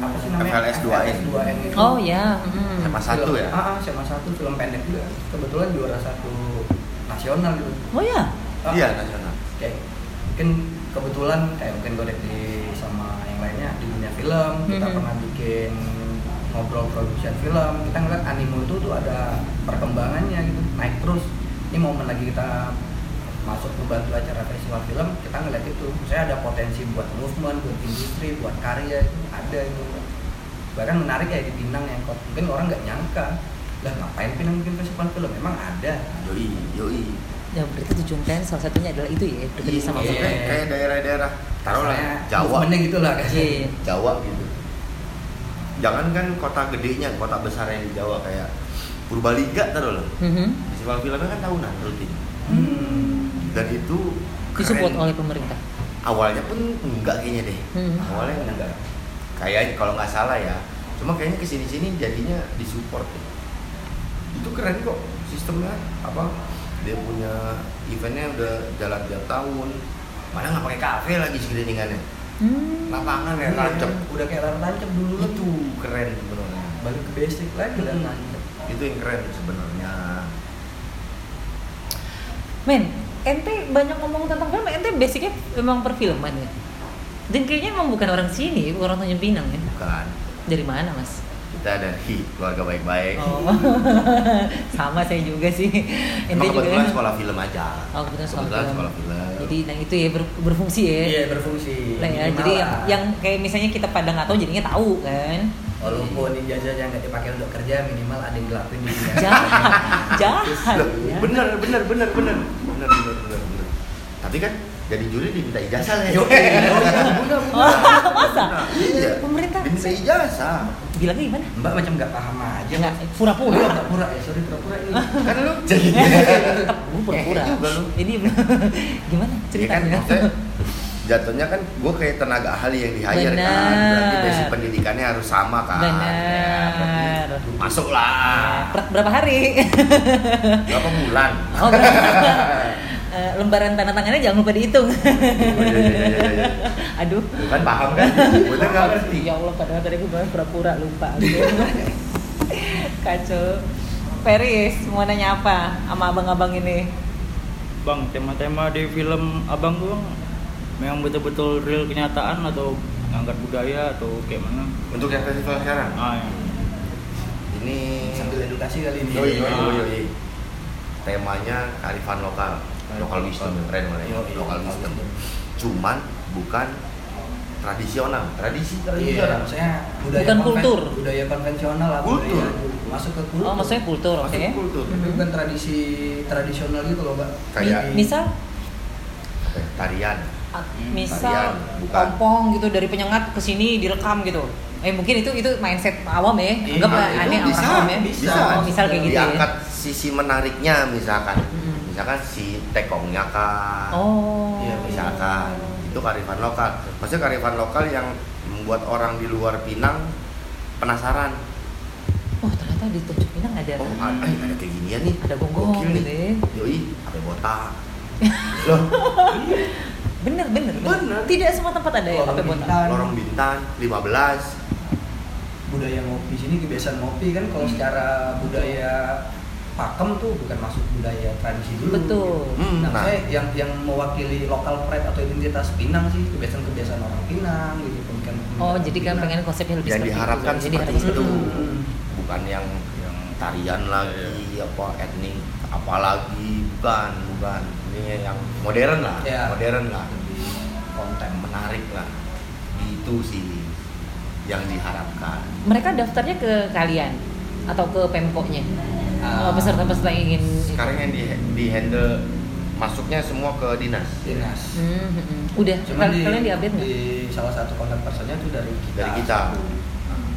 [SPEAKER 2] apa sih namanya
[SPEAKER 4] FLS 2N.
[SPEAKER 2] 2N itu
[SPEAKER 3] Oh ya. mm.
[SPEAKER 4] Sama satu
[SPEAKER 2] Film-
[SPEAKER 4] ya?
[SPEAKER 2] ah, ah, SMA satu film pendek juga kebetulan juara satu nasional gitu
[SPEAKER 3] Oh ya.
[SPEAKER 2] Ah,
[SPEAKER 4] Iya nasional.
[SPEAKER 2] kayak mungkin kebetulan kayak mungkin gue di sama yang lainnya di dunia film kita
[SPEAKER 3] Mhm.
[SPEAKER 2] pernah bikin ngobrol production film kita ngeliat animo itu tuh ada perkembangannya gitu naik terus ini momen lagi kita masuk membantu acara festival film kita ngeliat itu saya ada potensi buat movement buat industri buat karya itu ada itu bahkan menarik ya di Pinang yang kot- mungkin orang nggak nyangka lah ngapain Pinang bikin festival film memang ada
[SPEAKER 4] Yoi, yoi.
[SPEAKER 3] Ya berarti tujuan kalian salah satunya adalah itu ya bekerja sama
[SPEAKER 4] Iya,
[SPEAKER 3] Soprano.
[SPEAKER 4] kayak- kayak daerah-daerah taruhlah
[SPEAKER 2] Misalnya
[SPEAKER 4] Jawa,
[SPEAKER 2] movementnya gitu lah kan
[SPEAKER 3] Iya, iya.
[SPEAKER 4] Jawa gitu. Jangankan kota gedenya, kota besarnya di Jawa kayak Purbalingga taruhlah.
[SPEAKER 3] Mhm.
[SPEAKER 4] Festival filmnya kan tahunan rutin.
[SPEAKER 2] Hmm.
[SPEAKER 4] Dan itu
[SPEAKER 3] Disupport
[SPEAKER 4] keren.
[SPEAKER 3] oleh pemerintah.
[SPEAKER 4] awalnya pun enggak kayaknya deh.
[SPEAKER 3] Hmm.
[SPEAKER 4] Awalnya enggak. Kayaknya kalau nggak salah ya. Cuma kayaknya kesini-sini jadinya disupport. deh. Itu keren kok sistemnya apa? Dia punya eventnya udah jalan tiap tahun. Mana nggak pakai kafe lagi screeningannya.
[SPEAKER 3] Hmm.
[SPEAKER 4] Lapangan ya rancep.
[SPEAKER 2] udah kayak lar tancap dulu lah
[SPEAKER 4] Itu
[SPEAKER 2] tuh
[SPEAKER 4] keren sebenarnya.
[SPEAKER 2] balik ke basic lagi lar
[SPEAKER 3] Hmm.
[SPEAKER 2] tancap
[SPEAKER 4] Itu yang keren sebenarnya.
[SPEAKER 3] Men, ente banyak ngomong tentang film, ente basicnya memang perfilman ya. Dan kayaknya emang bukan orang sini, orang Tanjung Pinang ya.
[SPEAKER 4] Bukan
[SPEAKER 3] Dari mana mas?
[SPEAKER 4] kita dari keluarga baik-baik.
[SPEAKER 3] Oh, sama saya juga sih. Ente
[SPEAKER 4] Emang kebetulan
[SPEAKER 3] juga. kan.
[SPEAKER 4] sekolah film aja.
[SPEAKER 3] Oh, kebetulan sekolah film.
[SPEAKER 4] sekolah film.
[SPEAKER 3] Jadi nah itu ya ber- berfungsi ya.
[SPEAKER 2] iya berfungsi
[SPEAKER 3] Lah ya,
[SPEAKER 2] Minimal
[SPEAKER 3] jadi yang,
[SPEAKER 2] lah.
[SPEAKER 3] yang kayak misalnya kita pada nggak tahu jadinya tahu kan.
[SPEAKER 2] walaupun ijazah yang nggak dipakai untuk kerja minimal ada yang dilakuin di dunia
[SPEAKER 3] Jahat, jahat.
[SPEAKER 4] Loh,
[SPEAKER 3] ya.
[SPEAKER 4] bener bener bener bener bener bener bener bener tapi kan jadi juri diminta ijazah ya
[SPEAKER 2] Yo, yo, yo, bunda, bunda.
[SPEAKER 3] iya. Oh, Masa?
[SPEAKER 4] Nah, iya
[SPEAKER 3] Pemerintah.
[SPEAKER 4] diminta ijazah
[SPEAKER 3] Bilangnya gimana?
[SPEAKER 2] mbak macam nggak paham aja
[SPEAKER 3] Nggak,
[SPEAKER 2] Oh,
[SPEAKER 3] pura-pura.
[SPEAKER 2] iya, pura-pura ya, sorry pura-pura ini.
[SPEAKER 4] kan lu jadi
[SPEAKER 3] Tetep, gue pura-pura.
[SPEAKER 4] Eh, juga lu.
[SPEAKER 3] Ini gimana
[SPEAKER 4] Ya kan
[SPEAKER 3] ceritanya?
[SPEAKER 4] maksudnya jatuhnya kan gue kayak tenaga ahli yang di hire kan
[SPEAKER 3] Bener.
[SPEAKER 4] berarti basic pendidikannya harus sama kan Ya,
[SPEAKER 3] Benar.
[SPEAKER 4] berarti Ah. masuklah
[SPEAKER 3] Ber- Eh, Berapa hari?
[SPEAKER 4] berapa bulan
[SPEAKER 3] Oh, berapa? Eh, lembaran tanda tangannya jangan lupa dihitung.
[SPEAKER 4] Oh, iya, iya, iya, iya.
[SPEAKER 3] Aduh.
[SPEAKER 4] Lu kan paham kan gue tuh nggak ngerti
[SPEAKER 3] Ya Allah, padahal tadi gue bilang pura-pura lupa. Kacau. Peris, mau nanya apa sama abang-abang ini?
[SPEAKER 5] Bang, tema-tema di film Abang tuh Bang, memang betul-betul real kenyataan atau ngangkat budaya atau kayak mana?
[SPEAKER 4] untuk yang festival sekarang
[SPEAKER 5] Ah, ya.
[SPEAKER 4] ini
[SPEAKER 2] Sambil edukasi kali ini.
[SPEAKER 4] Yoi, yoi, yoi, yoi. Temanya kearifan lokal, lokal wisdom, keren banget ya,
[SPEAKER 2] Yoi,
[SPEAKER 4] lokal wisdom.
[SPEAKER 2] wisdom.
[SPEAKER 4] Cuman bukan tradisional, tradisi
[SPEAKER 2] Iya,
[SPEAKER 4] tradisional.
[SPEAKER 2] maksudnya budaya
[SPEAKER 3] Bukan
[SPEAKER 2] konven-
[SPEAKER 3] kultur.
[SPEAKER 2] budaya konvensional lah,
[SPEAKER 4] Kultur.
[SPEAKER 2] budaya- masuk ke kultur.
[SPEAKER 3] Oh, maksudnya kultur, oke.
[SPEAKER 4] Masuk kultur.
[SPEAKER 2] Tapi bukan tradisi tradisional gitu loh, Mbak.
[SPEAKER 4] Kayak-
[SPEAKER 2] Jadi-
[SPEAKER 3] Misal
[SPEAKER 4] Apa ya, Tarian.
[SPEAKER 3] Ah,
[SPEAKER 5] Hmm,
[SPEAKER 3] misal
[SPEAKER 4] tarian, iya, bukan.
[SPEAKER 3] kompong gitu dari penyengat ke sini direkam gitu eh mungkin itu itu mindset awam ya
[SPEAKER 2] Iya,
[SPEAKER 3] anggap
[SPEAKER 4] Nah,
[SPEAKER 2] itu
[SPEAKER 3] aneh orang
[SPEAKER 4] bisa,
[SPEAKER 3] awam ya
[SPEAKER 4] bisa.
[SPEAKER 3] Oh, misal kayak gitu ya
[SPEAKER 4] Diangkat sisi menariknya misalkan.
[SPEAKER 3] Mm-mm.
[SPEAKER 4] Misalkan si tekongnya kan.
[SPEAKER 3] oh
[SPEAKER 2] Iya,
[SPEAKER 4] misalkan itu kearifan lokal maksudnya kearifan lokal yang membuat orang di luar Pinang penasaran
[SPEAKER 3] oh ternyata di Tanjung Pinang ada
[SPEAKER 4] oh ada, eh, ada kayak ginian nih
[SPEAKER 3] Iya. Ada gonggong
[SPEAKER 4] Gokil
[SPEAKER 3] gitu
[SPEAKER 4] nih
[SPEAKER 3] ya.
[SPEAKER 4] yoi ada botak loh
[SPEAKER 3] bener bener
[SPEAKER 4] Bener. Oh,
[SPEAKER 3] tidak semua tempat ada ya
[SPEAKER 2] Orang
[SPEAKER 3] apa botak
[SPEAKER 2] Bintan.
[SPEAKER 4] lorong bintang 15
[SPEAKER 2] budaya ngopi sini kebiasaan ngopi kan
[SPEAKER 3] Hmm.
[SPEAKER 2] kalau secara budaya pakem tuh bukan masuk budaya tradisi dulu
[SPEAKER 3] betul
[SPEAKER 4] Hmm,
[SPEAKER 2] nah,
[SPEAKER 4] nah.
[SPEAKER 2] saya yang yang mewakili lokal pride atau identitas Pinang sih kebiasaan-kebiasaan orang Pinang gitu pemikiran
[SPEAKER 3] oh jadi kan pengen konsepnya lebih
[SPEAKER 4] yang
[SPEAKER 3] seperti itu.
[SPEAKER 4] diharapkan
[SPEAKER 3] Jadi
[SPEAKER 4] seperti
[SPEAKER 3] harus-
[SPEAKER 4] itu
[SPEAKER 3] Mm-mm.
[SPEAKER 4] bukan yang yang tarian lagi apa etnik apalagi bukan bukan ini yang modern lah
[SPEAKER 2] Ya.
[SPEAKER 4] modern lah konten menarik lah itu sih yang diharapkan
[SPEAKER 3] mereka daftarnya ke kalian atau ke pemkotnya Oh,
[SPEAKER 2] Ah.
[SPEAKER 3] peserta-peserta yang ingin
[SPEAKER 4] sekarang yang di, di handle masuknya semua ke dinas
[SPEAKER 2] dinas
[SPEAKER 3] Hmm, hmm, hmm. udah
[SPEAKER 2] cuman di,
[SPEAKER 3] kalian di update
[SPEAKER 2] di salah satu kontak personnya tuh dari kita
[SPEAKER 4] dari kita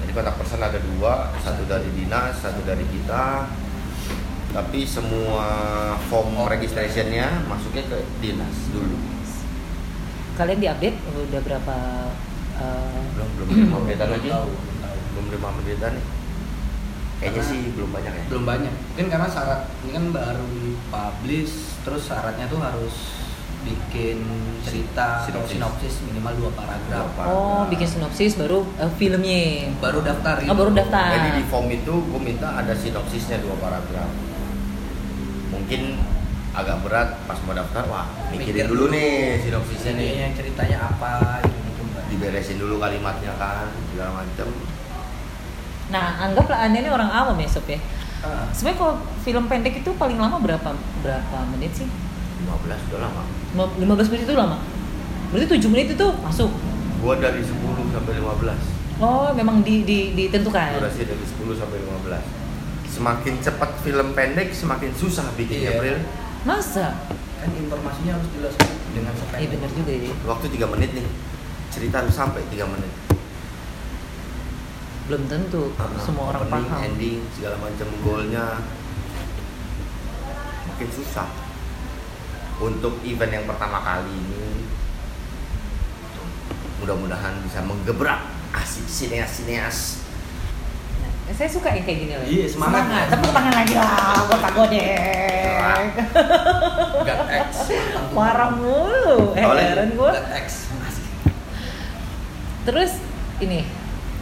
[SPEAKER 4] jadi kontak person ada dua satu dari dinas satu dari kita tapi semua form registrationnya masuknya ke dinas dulu
[SPEAKER 3] kalian diupdate udah berapa eh,
[SPEAKER 4] belum belum lima
[SPEAKER 2] belum
[SPEAKER 4] updatean lagi
[SPEAKER 2] tahu, belum tahu.
[SPEAKER 4] belum lima updatean nih kayaknya sih belum banyak ya
[SPEAKER 2] belum banyak mungkin karena syarat ini kan baru publish terus syaratnya tuh harus bikin cerita atau
[SPEAKER 4] Sinopsis.
[SPEAKER 2] sinopsis minimal dua paragraf
[SPEAKER 4] Dua
[SPEAKER 3] Oh, bikin sinopsis baru eh, filmnya.
[SPEAKER 2] baru daftar gitu.
[SPEAKER 3] Oh, baru daftar.
[SPEAKER 4] Jadi di form itu gue minta ada sinopsisnya dua paragraf. Mungkin agak berat pas mau daftar, wah
[SPEAKER 2] Mikir
[SPEAKER 4] mikirin dulu nih sinopsisnya nih.
[SPEAKER 2] Ini ceritanya apa gitu mbak
[SPEAKER 4] Diberesin dulu kalimatnya kan, segala macem.
[SPEAKER 3] Nah, anggaplah Anda ini orang awam ya, Sob ya.
[SPEAKER 2] Ah,
[SPEAKER 3] Sebenarnya kalau film pendek itu paling lama berapa berapa menit sih?
[SPEAKER 4] 15 udah lama.
[SPEAKER 3] Lima- 15 menit itu lama. Berarti 7 menit itu masuk.
[SPEAKER 4] Gue dari 10 sampai 15.
[SPEAKER 3] Oh, memang di, di, ditentukan.
[SPEAKER 4] Durasi dari 10 sampai 15. Semakin cepat film pendek, semakin susah bikinnya,
[SPEAKER 2] Iya.
[SPEAKER 4] April.
[SPEAKER 3] Masa?
[SPEAKER 2] kan informasinya harus jelas dengan
[SPEAKER 3] Iya
[SPEAKER 2] sependek
[SPEAKER 3] benar juga ya.
[SPEAKER 4] Waktu 3 menit nih. Cerita harus sampai 3 menit.
[SPEAKER 3] Belum tentu semua orang
[SPEAKER 4] Opening,
[SPEAKER 3] paham.
[SPEAKER 4] ending segala macam golnya makin susah untuk event yang pertama kali ini mudah-mudahan bisa menggebrak asik sineas-sineas
[SPEAKER 3] Nah, Saya suka yang kayak gini loh.
[SPEAKER 2] Iya, semangat.
[SPEAKER 3] Tepuk tangan lagi lah, gue pagodek.
[SPEAKER 2] God X mantap tuh.
[SPEAKER 3] Marah mulu, eh,
[SPEAKER 4] Oleh.
[SPEAKER 3] heran gue.
[SPEAKER 2] God X Asik.
[SPEAKER 3] Terus ini,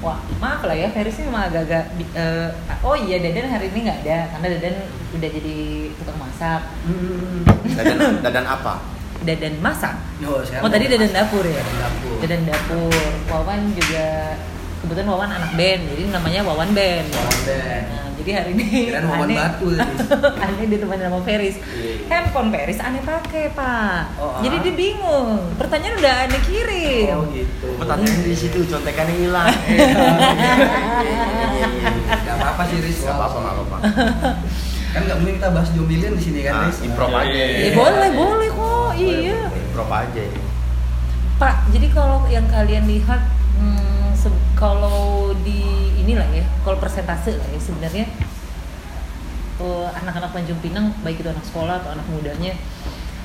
[SPEAKER 3] wah maaf lah ya, Ferris ini memang agak-agak. bi- eh, oh iya, Dadan hari ini nggak ada karena Dadan udah jadi tukang masak.
[SPEAKER 2] Hmm.
[SPEAKER 4] dadan, dadan apa
[SPEAKER 3] Dadan masak.
[SPEAKER 2] Oh, sekarang
[SPEAKER 3] Oh tadi
[SPEAKER 2] udah
[SPEAKER 3] Dadan
[SPEAKER 2] masak.
[SPEAKER 3] dapur ya.
[SPEAKER 2] Dadan dapur.
[SPEAKER 3] Dadan dapur. Wawan juga kebetulan Wawan anak band, jadi namanya Wawan Band.
[SPEAKER 2] Wawan Band.
[SPEAKER 3] Nah, jadi hari ini
[SPEAKER 2] Kirain Wawan
[SPEAKER 3] aneh-
[SPEAKER 2] Batu tadi.
[SPEAKER 3] aneh ditemani sama Ferris.
[SPEAKER 2] Iya.
[SPEAKER 3] Handphone Ferris aneh pakai pak.
[SPEAKER 2] Oh, ah.
[SPEAKER 3] Jadi dia bingung. Pertanyaan udah aneh kirim.
[SPEAKER 2] Oh gitu.
[SPEAKER 4] pertanyaan di situ contekannya hilang
[SPEAKER 2] Gak apa-apa sih Riz.
[SPEAKER 4] nggak apa-apa nggak apa-apa
[SPEAKER 2] Kan gak mungkin kita bahas Jomilian di sini
[SPEAKER 4] Ah,
[SPEAKER 2] kan Eh, Riz.
[SPEAKER 4] improv aja
[SPEAKER 5] Iya,
[SPEAKER 3] Ya, boleh boleh kok. Iya.
[SPEAKER 4] improv aja ini.
[SPEAKER 3] Pak, jadi kalau yang kalian lihat hmm, se- kalau di inilah ya, kalau persentase lah ya sebenarnya eh, anak-anak Tanjung Pinang baik itu anak sekolah atau anak mudanya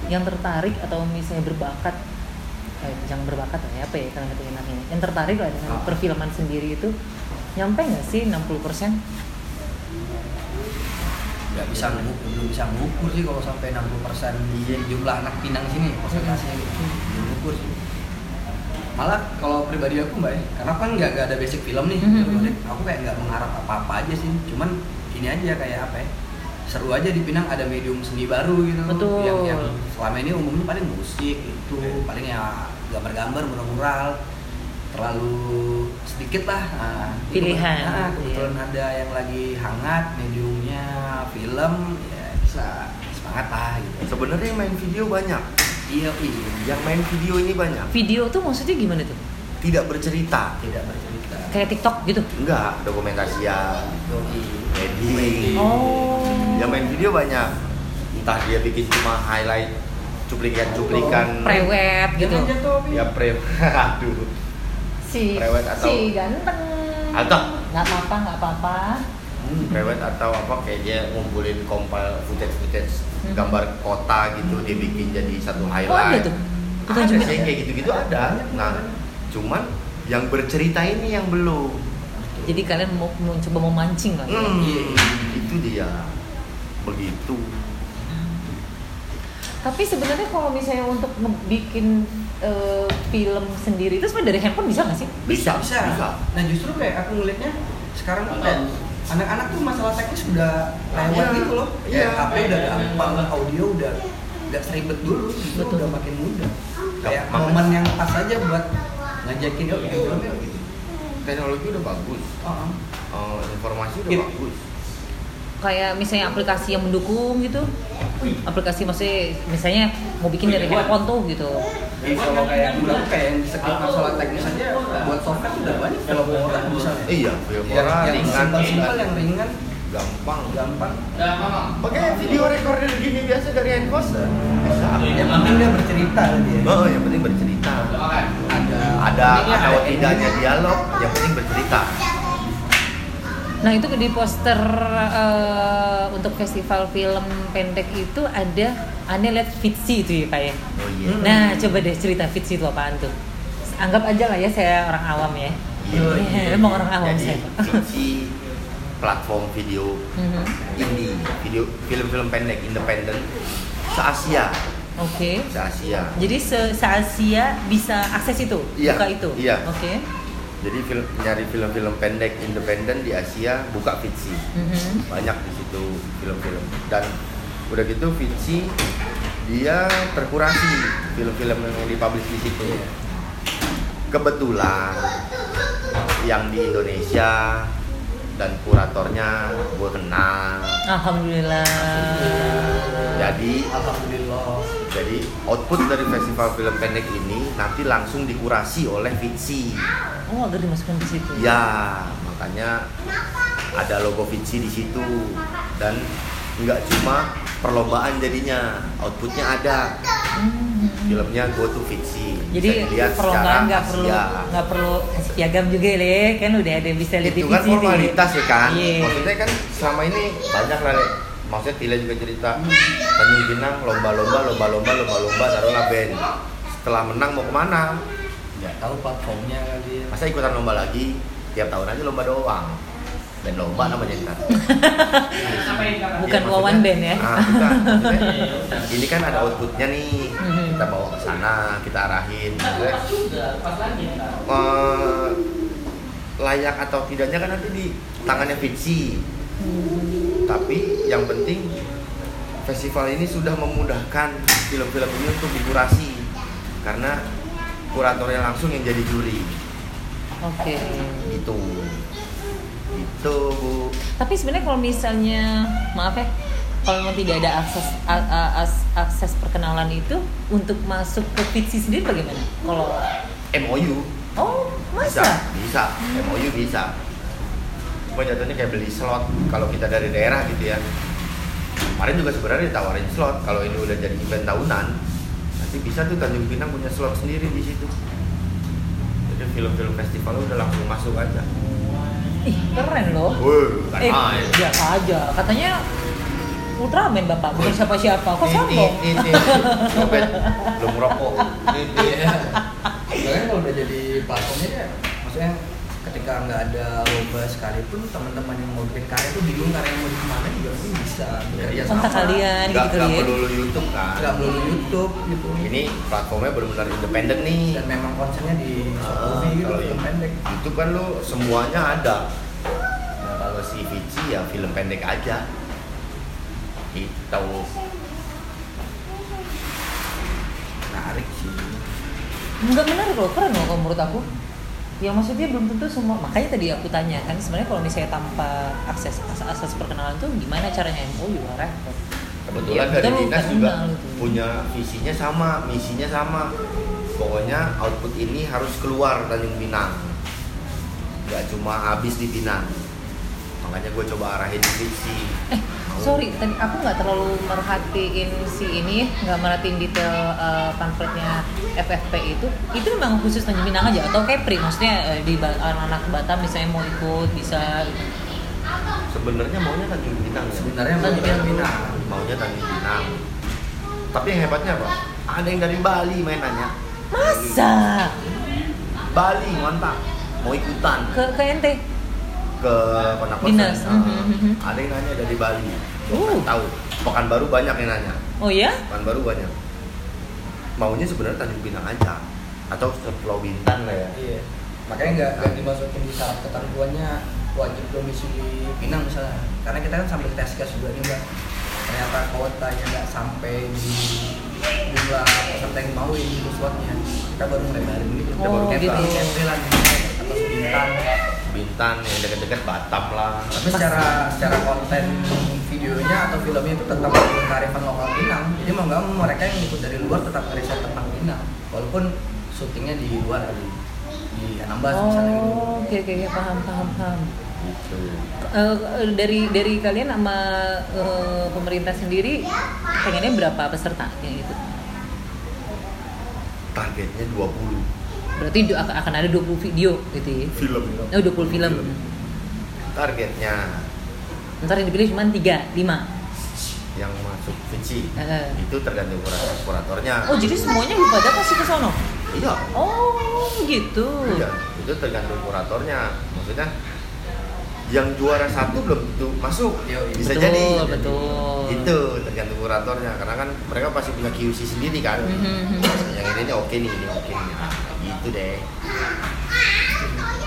[SPEAKER 3] yang tertarik atau misalnya berbakat eh, jangan berbakat lah ya apa ya kalian ngerti enaknya yang tertarik lah dengan
[SPEAKER 2] Ah.
[SPEAKER 3] perfilman sendiri itu nyampe nggak sih 60%
[SPEAKER 2] Gak bisa ngukur, belum bisa ngukur sih kalau sampai 60% di jumlah anak Pinang sini persentasenya gitu.
[SPEAKER 3] Hmm.
[SPEAKER 2] Belum ngukur sih. Malah kalau pribadi aku mbak ya, karena aku kan nggak nggak ada basic film nih,
[SPEAKER 3] Mhm.
[SPEAKER 2] Maksudnya aku kayak nggak mengharap apa-apa aja sih, cuman ini aja kayak apa ya, seru aja di Pinang ada medium seni baru gitu,
[SPEAKER 3] Betul.
[SPEAKER 2] yang yang selama ini umumnya paling musik itu, paling ya gambar-gambar mural-mural, terlalu sedikit lah nah, itu
[SPEAKER 3] Pilihan,
[SPEAKER 2] benar. Nah,
[SPEAKER 3] iya.
[SPEAKER 2] kebetulan ada yang lagi hangat mediumnya film ya bisa semangat lah gitu
[SPEAKER 4] sebenarnya yang main video banyak
[SPEAKER 2] iya iya
[SPEAKER 4] yang main video ini banyak
[SPEAKER 3] video tuh maksudnya gimana tuh
[SPEAKER 4] tidak bercerita
[SPEAKER 2] tidak bercerita
[SPEAKER 3] kayak TikTok gitu
[SPEAKER 4] enggak dokumentasian
[SPEAKER 2] doi
[SPEAKER 4] wedding
[SPEAKER 3] oh
[SPEAKER 4] yang main video banyak entah dia bikin cuma highlight cuplikan-cuplikan
[SPEAKER 3] prewed gitu
[SPEAKER 2] Jangan jatuh, Bi.
[SPEAKER 4] ya pre aduh
[SPEAKER 3] si
[SPEAKER 4] Prewed atau-
[SPEAKER 3] si ganteng
[SPEAKER 4] Atau?
[SPEAKER 3] nggak apa-apa nggak apa-apa
[SPEAKER 2] Hmm.
[SPEAKER 4] prewed atau apa kayak dia ngumpulin compile footage footage gambar kota gitu dia bikin jadi
[SPEAKER 3] oh
[SPEAKER 4] satu
[SPEAKER 3] ada
[SPEAKER 4] highlight
[SPEAKER 3] tuh kita
[SPEAKER 4] ada
[SPEAKER 3] juga
[SPEAKER 4] sih yang kayak gitu-gitu ada nah cuman yang bercerita ini yang belum
[SPEAKER 3] jadi kalian mau, mau coba memancing lah ya.
[SPEAKER 4] Hmm, itu dia begitu
[SPEAKER 3] tapi sebenarnya kalau misalnya untuk bikin film sendiri itu sebenarnya dari handphone bisa nggak sih
[SPEAKER 4] bisa
[SPEAKER 2] bisa nah justru kayak aku ngelihatnya sekarang tuh kayak anak-anak tuh masalah teknis udah lewat
[SPEAKER 4] Iya.
[SPEAKER 2] gitu loh
[SPEAKER 4] Iya.
[SPEAKER 2] ya HP udah gampang audio udah nggak seribet dulu justru
[SPEAKER 3] Betul.
[SPEAKER 2] udah makin mudah kayak
[SPEAKER 4] Gampang.
[SPEAKER 2] momen yang pas aja buat ngajakin
[SPEAKER 4] Iya.
[SPEAKER 2] yuk bikin film yuk gitu
[SPEAKER 4] teknologi udah bagus
[SPEAKER 2] Oh,
[SPEAKER 4] eh, informasi udah
[SPEAKER 2] Iya.
[SPEAKER 4] bagus
[SPEAKER 3] kayak misalnya aplikasi yang mendukung gitu aplikasi maksudnya misalnya mau bikin dari handphone tuh gitu
[SPEAKER 2] Jadi kalau kayak menurut aku kayak yang sekitar masalah teknis aja buat software tuh udah banyak film orang misalnya.
[SPEAKER 4] iya film
[SPEAKER 2] Yang,
[SPEAKER 4] orang
[SPEAKER 2] yang
[SPEAKER 4] ringan
[SPEAKER 2] simpel-simpel yang ringan
[SPEAKER 4] gampang
[SPEAKER 2] gampang.
[SPEAKER 4] pakai video recorder gini biasa dari handphone bisa
[SPEAKER 2] Yang penting dia bercerita lah dia.
[SPEAKER 4] oh yang penting bercerita
[SPEAKER 2] Ada
[SPEAKER 4] ada
[SPEAKER 2] Iya.
[SPEAKER 4] atau tidaknya dialog yang penting bercerita
[SPEAKER 3] nah itu di poster eh, untuk festival film pendek itu ada aneh lihat Fitzy itu ya pak ya
[SPEAKER 4] oh iya
[SPEAKER 2] Hmm.
[SPEAKER 3] Nah, coba deh cerita Fitzy itu apaan tuh? Anggap aja lah ya saya orang awam ya. Iya, emang orang awam saya.
[SPEAKER 4] jadi fiksi platform video
[SPEAKER 3] Mhm.
[SPEAKER 4] indie video film-film pendek independen se Asia
[SPEAKER 3] Oke.
[SPEAKER 4] se Asia
[SPEAKER 3] Jadi se, se Asia bisa akses itu,
[SPEAKER 4] Iya,
[SPEAKER 3] buka itu.
[SPEAKER 4] iya.
[SPEAKER 3] Oke.
[SPEAKER 4] jadi film nyari film-film pendek independen di Asia buka Fitsi
[SPEAKER 3] Mhm.
[SPEAKER 4] banyak di situ film-film dan udah gitu Vinci dia terkurasi film-film yang dipublish di situ kebetulan yang di Indonesia dan kuratornya gue kenal
[SPEAKER 3] Alhamdulillah.
[SPEAKER 4] jadi
[SPEAKER 2] Alhamdulillah.
[SPEAKER 4] jadi output dari festival film pendek ini nanti langsung dikurasi oleh Vinci
[SPEAKER 3] Oh, agar dimasukkan ke situ.
[SPEAKER 4] Ya, makanya ada logo Vinci di situ dan nggak cuma perlombaan jadinya, outputnya ada.
[SPEAKER 3] Mhm.
[SPEAKER 4] Filmnya Go to Vinci.
[SPEAKER 3] Jadi perlombaan nggak perlu
[SPEAKER 4] iya.
[SPEAKER 3] nggak perlu kasih piagam juga le, kan udah ada yang bisa lihat di
[SPEAKER 4] itu
[SPEAKER 3] TV
[SPEAKER 4] kan
[SPEAKER 3] sih.
[SPEAKER 4] formalitas ya kan.
[SPEAKER 3] Iya.
[SPEAKER 4] Maksudnya kan selama ini banyak lah Le. Maksudnya Tila juga cerita
[SPEAKER 3] Hmm.
[SPEAKER 4] Tanjung Pinang lomba-lomba lomba-lomba lomba-lomba taruhlah band. Setelah menang mau kemana?
[SPEAKER 2] Nggak tahu platformnya kali ya.
[SPEAKER 4] Masa ikutan lomba lagi? Tiap tahun aja lomba doang. Dan lomba namanya kita.
[SPEAKER 3] Bukan
[SPEAKER 4] Iya,
[SPEAKER 3] wawan
[SPEAKER 4] maksudnya-
[SPEAKER 3] band ya.
[SPEAKER 4] Ah, bukan. Maksudnya, ini kan ada outputnya nih
[SPEAKER 3] Mhm.
[SPEAKER 4] kita bawa ke sana kita arahin Maksudnya, eh, layak atau tidaknya kan nanti di tangannya Vinci
[SPEAKER 3] Mhm.
[SPEAKER 4] tapi yang penting festival ini sudah memudahkan film-film ini untuk dikurasi karena kuratornya langsung yang jadi juri
[SPEAKER 3] Oke.
[SPEAKER 4] gitu gitu bu
[SPEAKER 3] Tapi sebenarnya kalau misalnya maaf ya, kalau memang tidak ada akses a- a- as- akses perkenalan itu untuk masuk ke Fitsi sendiri bagaimana? Kalau
[SPEAKER 4] MOU
[SPEAKER 3] oh
[SPEAKER 4] bisa
[SPEAKER 3] masa?
[SPEAKER 4] bisa MOU bisa cuma jatuhnya kayak beli slot kalau kita dari daerah gitu ya kemarin juga sebenarnya ditawarin slot kalau ini udah jadi event tahunan nanti bisa tuh Tanjung Pinang punya slot sendiri di situ jadi film-film festival udah langsung masuk aja
[SPEAKER 3] Ih keren loh.
[SPEAKER 4] Wih, kan
[SPEAKER 3] Eh,
[SPEAKER 4] main.
[SPEAKER 3] biasa aja. Katanya Ultraman bapak, bukan siapa-siapa. Kok
[SPEAKER 4] Nih,
[SPEAKER 3] sombong?
[SPEAKER 4] nih, nih, nih. Nyopet, belum rokok
[SPEAKER 2] Iya. Soalnya kalau udah jadi platformnya ya, maksudnya ketika nggak ada lomba sekalipun teman-teman yang mau bikin karya itu bingung karya yang mau di mana juga mungkin bisa
[SPEAKER 4] Iya.
[SPEAKER 2] bekerja sama.
[SPEAKER 3] Kontak kalian
[SPEAKER 4] nggak
[SPEAKER 3] gitu
[SPEAKER 4] nggak
[SPEAKER 3] ya.
[SPEAKER 4] perlu YouTube kan
[SPEAKER 2] Nggak perlu YouTube gitu.
[SPEAKER 4] ini platformnya benar-benar independen nih
[SPEAKER 2] Dan memang konsernya di short movie gitu,
[SPEAKER 4] kalau
[SPEAKER 2] film
[SPEAKER 4] yang-
[SPEAKER 2] pendek.
[SPEAKER 4] YouTube kan lu semuanya ada. Nah, kalau si Vici ya film pendek aja. Gitu. Itu
[SPEAKER 2] Menarik sih.
[SPEAKER 3] Enggak menarik loh, keren loh kalau menurut aku. Ya maksudnya belum tentu semua. Makanya tadi aku tanya kan sebenarnya kalau misalnya tanpa akses akses perkenalan tuh gimana caranya MOU lah repot.
[SPEAKER 4] kebetulan
[SPEAKER 3] Iya,
[SPEAKER 4] dari
[SPEAKER 3] betul,
[SPEAKER 4] dinas
[SPEAKER 3] kenal
[SPEAKER 4] juga
[SPEAKER 3] gitu.
[SPEAKER 4] punya visinya sama, misinya sama. Pokoknya output ini harus keluar Tanjung Pinang. Gak cuma habis di Pinang. Makanya gue coba arahin ke Vici.
[SPEAKER 3] Eh, sorry, tadi aku nggak terlalu merhatiin si ini, nggak merhatiin detail eh, pamfletnya FFP itu. Itu memang khusus Tanjung Pinang aja atau Kepri? Maksudnya eh, di Ba- anak-anak Batam misalnya mau ikut bisa.
[SPEAKER 4] Sebenarnya maunya Tanjung Pinang ya.
[SPEAKER 2] Sebenarnya mau
[SPEAKER 3] Tanjung Pinang.
[SPEAKER 2] Pinang.
[SPEAKER 4] maunya Tanjung Pinang. Tapi yang hebatnya apa? Ada yang dari Bali main nanya.
[SPEAKER 3] Masa
[SPEAKER 4] Bali mantap mau ikutan
[SPEAKER 3] ke ke NT?
[SPEAKER 4] ke konak
[SPEAKER 3] Dinas, mhm.
[SPEAKER 4] ada yang nanya dari Bali
[SPEAKER 3] Uh.
[SPEAKER 4] Bukan tahu Pekanbaru banyak yang nanya
[SPEAKER 3] Oh ya?
[SPEAKER 4] Pekanbaru banyak maunya sebenarnya Tanjung Pinang aja atau ke Pulau Bintan lah ya
[SPEAKER 2] Iya. Makanya nggak nggak dimasukin di syarat ketentuannya wajib domisili Pinang misalnya. Karena kita kan sampai tes gas juga nih mbak. Ternyata kuotanya nggak sampai di jumlah peserta yang mau ini slotnya. Kita baru mulai dari ini. Kita
[SPEAKER 3] Oh,
[SPEAKER 2] baru
[SPEAKER 3] gitu.
[SPEAKER 2] April April lagi atau Bintan.
[SPEAKER 4] Bintan yang dekat-dekat Batam lah
[SPEAKER 2] Tapi secara secara konten videonya atau filmnya itu tetap kearifan lokal Pinang. Jadi mau nggak mau mereka yang ikut dari luar tetap riset tentang Pinang. Walaupun syutingnya di luar di di Anambas misalnya gitu.
[SPEAKER 3] Oh, oke oke oke, paham paham paham.
[SPEAKER 4] gitu
[SPEAKER 3] Eh, eh, dari dari kalian sama eh, pemerintah sendiri pengennya berapa gitu. pesertanya itu?
[SPEAKER 4] targetnya 20
[SPEAKER 3] Berarti du- ak- akan ada 20 video gitu ya.
[SPEAKER 4] film
[SPEAKER 3] Oh, 20 film.
[SPEAKER 4] targetnya
[SPEAKER 3] Ntar yang dipilih cuma 3, 5.
[SPEAKER 4] yang masuk Vinci
[SPEAKER 3] Heeh.
[SPEAKER 4] itu tergantung kurator kuratornya
[SPEAKER 3] Oh, jadi semuanya lu pada kasih ke sono.
[SPEAKER 4] iya
[SPEAKER 3] Oh, gitu.
[SPEAKER 4] Iya, itu tergantung kuratornya. Maksudnya yang juara satu belum tentu masuk
[SPEAKER 2] Yoi.
[SPEAKER 4] bisa
[SPEAKER 3] Betul,
[SPEAKER 4] jadi
[SPEAKER 3] betul.
[SPEAKER 4] itu tergantung kuratornya karena kan mereka pasti punya QC sendiri kan
[SPEAKER 3] Mhm.
[SPEAKER 4] yang ini ini oke nih ini oke nih Nah, gitu deh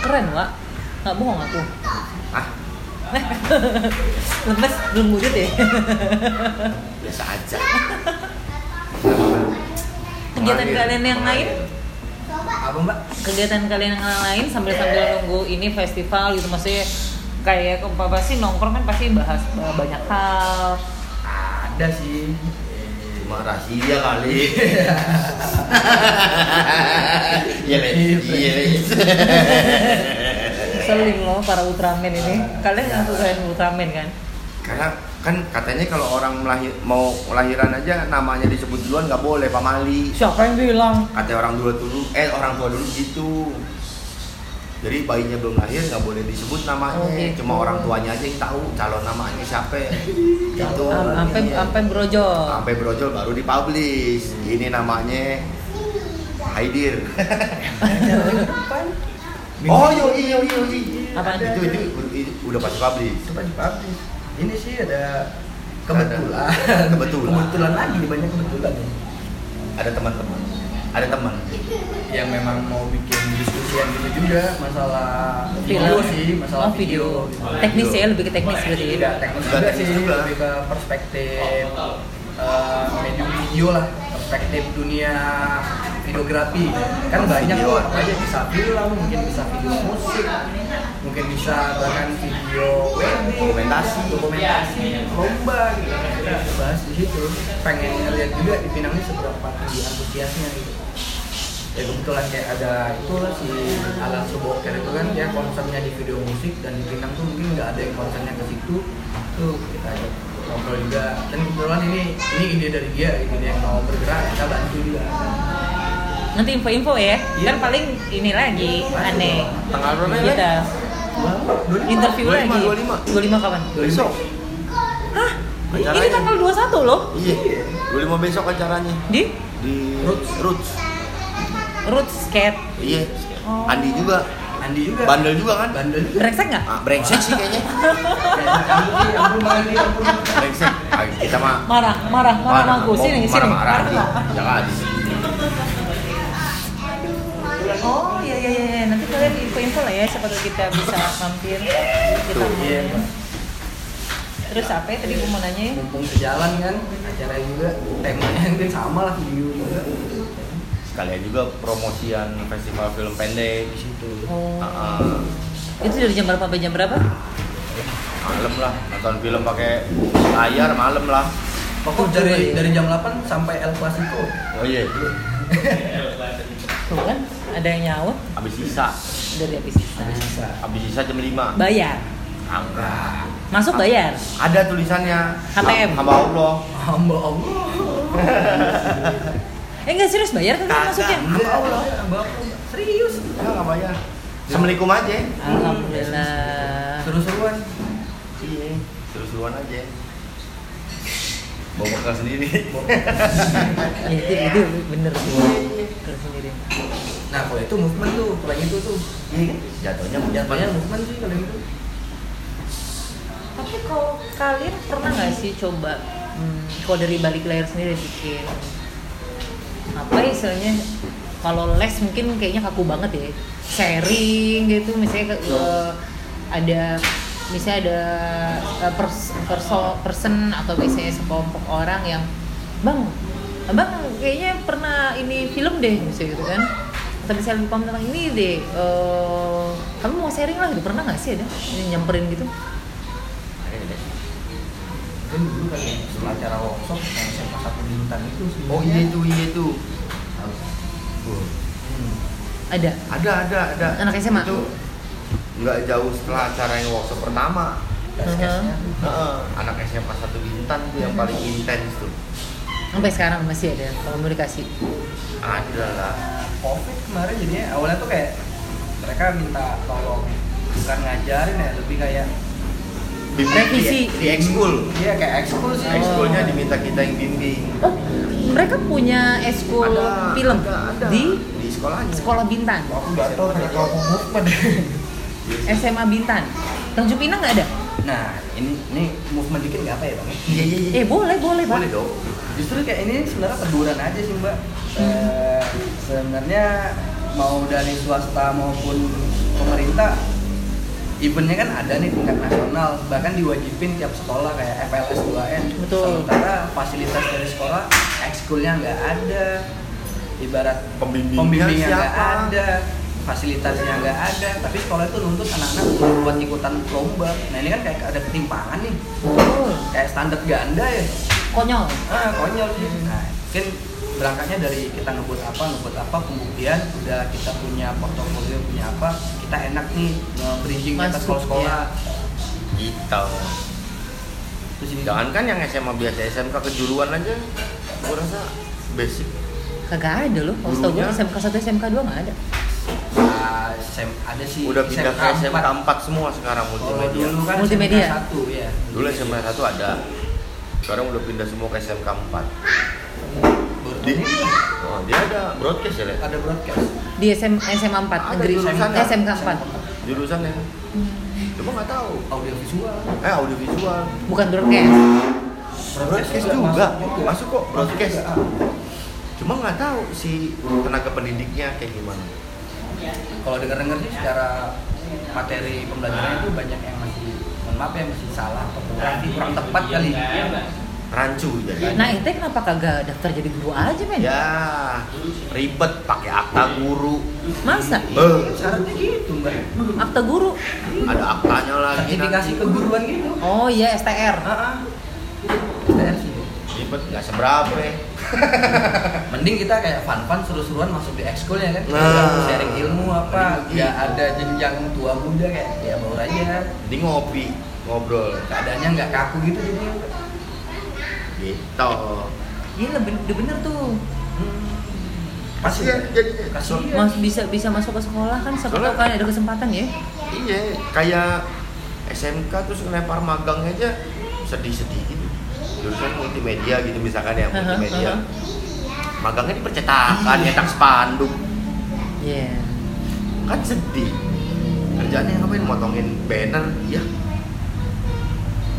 [SPEAKER 3] keren Wak nggak bohong aku
[SPEAKER 4] ah
[SPEAKER 3] lemes belum wujud ya
[SPEAKER 4] biasa aja
[SPEAKER 3] kegiatan
[SPEAKER 4] Mengalir,
[SPEAKER 3] kalian yang lain
[SPEAKER 4] mengalir.
[SPEAKER 2] apa mbak
[SPEAKER 3] kegiatan kalian yang lain sambil sambil nunggu ini festival gitu maksudnya kayak apa pasti nongkrong kan pasti bahas uh, banyak hal
[SPEAKER 2] ada sih Eh,
[SPEAKER 4] cuma rahasia kali iya Le. iya Le.
[SPEAKER 3] seling loh para Ultraman ini kalian nggak suka yang Ultraman kan
[SPEAKER 4] karena kan katanya kalau orang melahir, mau lahiran aja namanya disebut duluan nggak boleh Pak Mali
[SPEAKER 3] siapa yang bilang
[SPEAKER 4] kata orang tua dulu eh orang tua dulu gitu jadi bayinya belum lahir nggak boleh disebut namanya
[SPEAKER 3] Oh, gitu.
[SPEAKER 4] cuma orang tuanya aja yang tahu calon namanya siapa gitu
[SPEAKER 3] sampai sampai brojol
[SPEAKER 4] sampai brojol baru dipublish ini namanya Haidir
[SPEAKER 2] depan
[SPEAKER 4] oh yoi yoi yoi
[SPEAKER 3] Apaan?
[SPEAKER 4] itu, itu, itu udah pasti publish
[SPEAKER 2] itu pagi pagi ini sih ada kebetulan
[SPEAKER 4] Ada- kebetulan.
[SPEAKER 2] kebetulan lagi banyak kebetulan ya.
[SPEAKER 4] ada teman-teman ada teman
[SPEAKER 2] yang memang mau bikin diskusian gitu juga masalah video sih masalah
[SPEAKER 3] oh, video.
[SPEAKER 2] gitu.
[SPEAKER 3] teknis ya lebih ke teknis berarti ya
[SPEAKER 2] tidak teknis
[SPEAKER 4] Nggak
[SPEAKER 2] juga
[SPEAKER 4] teknis
[SPEAKER 2] sih
[SPEAKER 4] juga.
[SPEAKER 2] iya,
[SPEAKER 4] Oh,
[SPEAKER 2] lebih ke perspektif eh, medium video lah perspektif dunia videografi kan banyak
[SPEAKER 4] Video.
[SPEAKER 2] tuh apa aja bisa film mungkin bisa video musik mungkin bisa bahkan video wedding
[SPEAKER 4] Dokumentasi.
[SPEAKER 2] dokumentasi lomba gitu kita bahas di situ pengen lihat juga di Pinang ini seberapa tinggi antusiasnya gitu ya kebetulan kayak ada itulah si Alan Suboker itu kan dia konsernya di video musik dan di Pinang tuh mungkin nggak ada yang konsernya ke situ tuh kita ajak ngobrol juga dan kebetulan ini ini ide dari dia gitu dia yang mau bergerak kita bantu juga
[SPEAKER 3] nanti info-info ya
[SPEAKER 2] Iya.
[SPEAKER 3] kan paling ini lagi
[SPEAKER 2] Masih
[SPEAKER 3] aneh
[SPEAKER 2] dong.
[SPEAKER 4] tanggal berapa ya Le?
[SPEAKER 3] kita interview
[SPEAKER 4] 25,
[SPEAKER 3] lagi
[SPEAKER 4] 25.
[SPEAKER 3] 25 kapan
[SPEAKER 4] besok
[SPEAKER 3] hah ini
[SPEAKER 4] Acaranya.
[SPEAKER 3] tanggal 21 loh
[SPEAKER 4] iya 25 besok acaranya
[SPEAKER 3] di
[SPEAKER 4] di
[SPEAKER 2] Roots.
[SPEAKER 4] Roots
[SPEAKER 3] Roots Skate
[SPEAKER 4] iya
[SPEAKER 3] Oh.
[SPEAKER 4] Andi juga
[SPEAKER 2] Andi juga
[SPEAKER 4] bandel juga kan
[SPEAKER 2] bandel juga
[SPEAKER 3] brengsek nggak
[SPEAKER 4] ah, brengsek sih kayaknya
[SPEAKER 2] Andi ampun Bang Andi ampun
[SPEAKER 4] brengsek Ah, kita mah
[SPEAKER 3] marah marah marah sama aku sini sini
[SPEAKER 4] marah marah
[SPEAKER 3] marah nggak?
[SPEAKER 4] jangan
[SPEAKER 3] oh iya iya iya iya. nanti kalian info-info lah ya siapa tahu kita bisa mampir kita
[SPEAKER 4] Tuh,
[SPEAKER 2] iya
[SPEAKER 3] main. terus apa ya tadi gue mau nanya
[SPEAKER 2] mumpung sejalan kan acara juga temanya mungkin sama lah video juga
[SPEAKER 4] sekalian juga promosian festival film pendek di situ
[SPEAKER 3] Oh.
[SPEAKER 4] Ah,
[SPEAKER 3] itu dari jam berapa sampai jam berapa
[SPEAKER 4] ah, malam lah nonton film pakai layar malam lah
[SPEAKER 2] Waktu dari dari jam 8 sampai El Clasico
[SPEAKER 4] oh iya
[SPEAKER 3] tuh kan ada yang nyawa
[SPEAKER 4] habis sisa
[SPEAKER 3] dari habis kita
[SPEAKER 2] bisa
[SPEAKER 4] habis sisa jam 5
[SPEAKER 3] bayar
[SPEAKER 4] angkat
[SPEAKER 3] masuk bayar
[SPEAKER 4] ada tulisannya
[SPEAKER 3] HTM.
[SPEAKER 4] hamba Allah
[SPEAKER 2] hamba Allah
[SPEAKER 3] eh nggak serius bayar kan
[SPEAKER 4] Kagak.
[SPEAKER 3] masuknya
[SPEAKER 2] hamba Allah hamba Allah serius
[SPEAKER 4] ya nggak bayar assalamualaikum aja
[SPEAKER 3] alhamdulillah
[SPEAKER 2] seru-seruan
[SPEAKER 4] iya seru-seruan aja bawa bekal sendiri
[SPEAKER 3] ya, itu itu bener sih Terus sendiri
[SPEAKER 2] nah kalau itu movement tuh kalau yang itu tuh
[SPEAKER 4] Iya kan? Jatuhnya mau
[SPEAKER 2] jatuhnya movement sih kalau yang itu
[SPEAKER 3] Tapi kalau kalian pernah nggak sih coba hmm, kalau dari balik layar sendiri bikin apa ya istilahnya kalau les mungkin kayaknya kaku banget ya sharing gitu misalnya ke- eh, ada misalnya ada eh, pers, perso- person atau misalnya sekelompok orang yang bang abang kayaknya pernah ini film deh misalnya gitu kan atau misalnya lebih paham tentang ini deh eh, kamu mau sharing lah gitu pernah nggak sih ada yang nyamperin gitu
[SPEAKER 2] kan dulu kan ya, sebelum acara workshop yang SMA satu di Bintan itu sih
[SPEAKER 4] Oh iya itu iya itu.
[SPEAKER 2] Hmm.
[SPEAKER 3] ada
[SPEAKER 4] Ada ada ada.
[SPEAKER 3] Anak SMA?
[SPEAKER 4] Itu nggak jauh setelah acara yang workshop pertama.
[SPEAKER 3] Uh-huh.
[SPEAKER 2] Gas-gasnya tuh.
[SPEAKER 4] Heeh, anak SMA satu bintan tuh yang paling intens tuh.
[SPEAKER 3] sampai sekarang masih ada komunikasi
[SPEAKER 4] Ada lah.
[SPEAKER 2] Nah, covid kemarin jadinya awalnya tuh kayak mereka minta tolong bukan ngajarin ya lebih kayak
[SPEAKER 4] Bimbing
[SPEAKER 3] Revisi.
[SPEAKER 4] Di, di ekskul.
[SPEAKER 2] iya kayak ekskul sih
[SPEAKER 4] Ekskulnya diminta kita yang bimbing.
[SPEAKER 3] oh mereka punya eskul
[SPEAKER 4] Ada,
[SPEAKER 3] film
[SPEAKER 4] ada, ada.
[SPEAKER 3] di
[SPEAKER 4] di sekolahnya.
[SPEAKER 3] sekolah Bintan
[SPEAKER 2] aku nggak tahu mereka mau movement
[SPEAKER 3] SMA Bintan Tanjung Pinang nggak ada?
[SPEAKER 2] Nah, ini ini movement dikit nggak apa ya bang?
[SPEAKER 4] Iya iya iya.
[SPEAKER 3] Eh boleh boleh pak.
[SPEAKER 4] Boleh dong.
[SPEAKER 2] Justru kayak ini sebenarnya keduran aja sih mbak. Eh, sebenarnya mau dari swasta maupun pemerintah, eventnya kan ada nih tingkat nasional. Bahkan diwajibin tiap sekolah kayak FLS 2N.
[SPEAKER 3] Betul.
[SPEAKER 2] Sementara fasilitas dari sekolah, ekskulnya nggak ada. Ibarat
[SPEAKER 4] Pembimbingnya
[SPEAKER 2] pembimbingnya nggak
[SPEAKER 4] siapa?
[SPEAKER 2] ada fasilitasnya nggak ada tapi sekolah itu nuntut anak-anak buat ikutan lomba nah ini kan kayak ada ketimpangan nih
[SPEAKER 3] Betul.
[SPEAKER 2] kayak standar ganda ya
[SPEAKER 3] Konyol.
[SPEAKER 2] ah konyol sih
[SPEAKER 3] Hmm.
[SPEAKER 2] nah mungkin berangkatnya dari kita ngebuat apa ngebuat apa pembuktian udah kita punya portofolio punya apa kita enak nih bridging ke
[SPEAKER 3] Masuk, iya.
[SPEAKER 2] atas sekolah-sekolah
[SPEAKER 4] Gitu.
[SPEAKER 2] terus ini
[SPEAKER 4] Jangankan kan yang SMA biasa SMK kejuruan aja, gue rasa basic.
[SPEAKER 3] Kagak ada loh. Kalau setahu gue
[SPEAKER 4] Gurunya?
[SPEAKER 3] SMK 1 SMK 2 nggak ada.
[SPEAKER 2] ah, SM, ada sih
[SPEAKER 4] Udah pindah ke SMK 4 semua sekarang
[SPEAKER 2] kalau
[SPEAKER 4] multimedia.
[SPEAKER 2] dulu kan
[SPEAKER 3] Multimedia.
[SPEAKER 2] SMK satu ya
[SPEAKER 4] Dulu SMK 1 ada. Sekarang udah pindah semua ke SMK 4.
[SPEAKER 2] Baru-
[SPEAKER 4] Di- Oh, dia ada broadcast ya, Le?
[SPEAKER 2] ada broadcast
[SPEAKER 3] Di SM, SMA 4
[SPEAKER 4] Ada
[SPEAKER 3] negeri.
[SPEAKER 4] jurusan
[SPEAKER 3] Eh, SMK 4.
[SPEAKER 2] empat
[SPEAKER 4] Jurusan ya? Cuma nggak tahu.
[SPEAKER 2] audiovisual
[SPEAKER 4] Eh, audiovisual.
[SPEAKER 3] Bukan broadcast.
[SPEAKER 4] Broadcast juga. Masuk kok broadcast.
[SPEAKER 2] Ah.
[SPEAKER 4] Cuma nggak tahu si tenaga pendidiknya kayak gimana.
[SPEAKER 2] kalau dengar dengar sih secara materi pembelajarannya itu banyak yang masih mohon maaf ya masih salah atau kurang sih, kurang tepat kali
[SPEAKER 4] Rancu jadi.
[SPEAKER 3] Nah, ente kenapa kagak daftar jadi guru aja, men?
[SPEAKER 4] Ya, ribet pakai akta guru.
[SPEAKER 3] Masa?
[SPEAKER 4] Eh,
[SPEAKER 2] syaratnya gitu mbak
[SPEAKER 3] Akta guru.
[SPEAKER 4] ada aktanya lagi.
[SPEAKER 2] sertifikasi
[SPEAKER 4] nanti.
[SPEAKER 2] keguruan gitu
[SPEAKER 3] Oh iya, STR.
[SPEAKER 2] Heeh. Saya sih.
[SPEAKER 4] Ribet nggak seberapa. ya.
[SPEAKER 2] Eh, mending kita kayak fun fun seru seruan masuk di ekskul ya kan kita
[SPEAKER 4] Nah.
[SPEAKER 2] nggak sharing ilmu apa
[SPEAKER 4] Mending
[SPEAKER 2] nggak
[SPEAKER 4] gitu.
[SPEAKER 2] ada jenjang tua muda kayak ya baru aja
[SPEAKER 4] Jadi ngopi, ngobrol.
[SPEAKER 2] keadaannya nggak kaku gitu jadi
[SPEAKER 4] Gitu.
[SPEAKER 3] Iya, lebih udah bener tuh.
[SPEAKER 2] pasti
[SPEAKER 4] Kasihan
[SPEAKER 2] ya.
[SPEAKER 4] jadinya.
[SPEAKER 2] kasihan
[SPEAKER 3] Mas bisa bisa masuk ke sekolah kan siapa tahu kan ada kesempatan ya.
[SPEAKER 4] Iya, kayak SMK terus ngelempar magang aja sedih-sedihin. Jurusan multimedia gitu misalkan ya,
[SPEAKER 3] Aha,
[SPEAKER 4] multimedia.
[SPEAKER 3] aha.
[SPEAKER 4] Magangnya di percetakan, nyetak spanduk.
[SPEAKER 3] Iya.
[SPEAKER 4] Kan sedih. Kerjaannya ngapain motongin banner? Ya,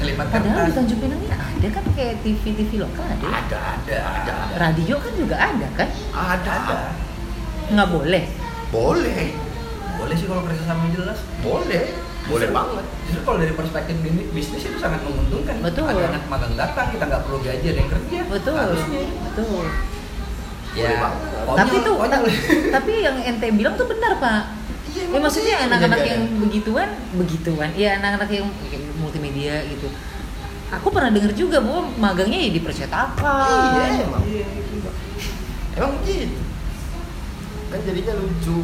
[SPEAKER 2] ngelipat
[SPEAKER 3] Padahal di
[SPEAKER 2] kertas
[SPEAKER 3] Tanjung Pinang ini ada kan kayak TV-TV lokal ada.
[SPEAKER 2] Hmm?
[SPEAKER 3] ya?
[SPEAKER 4] ada
[SPEAKER 2] Ya,
[SPEAKER 4] ada ada ada.
[SPEAKER 3] Radio kan juga ada kan?
[SPEAKER 4] Ada ada.
[SPEAKER 3] Nggak boleh.
[SPEAKER 4] Boleh.
[SPEAKER 2] boleh sih kalau kerjasama jelas
[SPEAKER 4] Boleh. Boleh
[SPEAKER 2] Justru-
[SPEAKER 4] banget.
[SPEAKER 2] Justru kalau dari perspektif bini- bisnis itu sangat menguntungkan.
[SPEAKER 3] Betul.
[SPEAKER 2] Ada anak magang datang, kita nggak perlu gaji ada yang kerja.
[SPEAKER 3] Betul.
[SPEAKER 2] Harusnya.
[SPEAKER 3] Betul.
[SPEAKER 2] Ya.
[SPEAKER 4] Boleh banget.
[SPEAKER 2] konyol,
[SPEAKER 3] tapi tuh
[SPEAKER 2] konyol.
[SPEAKER 3] ta- tapi yang ente bilang tuh benar, Pak. Ya maksudnya anak-anak yang begituan, begituan. Ya anak-anak yang multimedia gitu. Aku pernah denger juga bahwa magangnya ya di
[SPEAKER 4] Iya,
[SPEAKER 3] percetakan.
[SPEAKER 4] emang. Emang gitu. Kan jadinya lucu.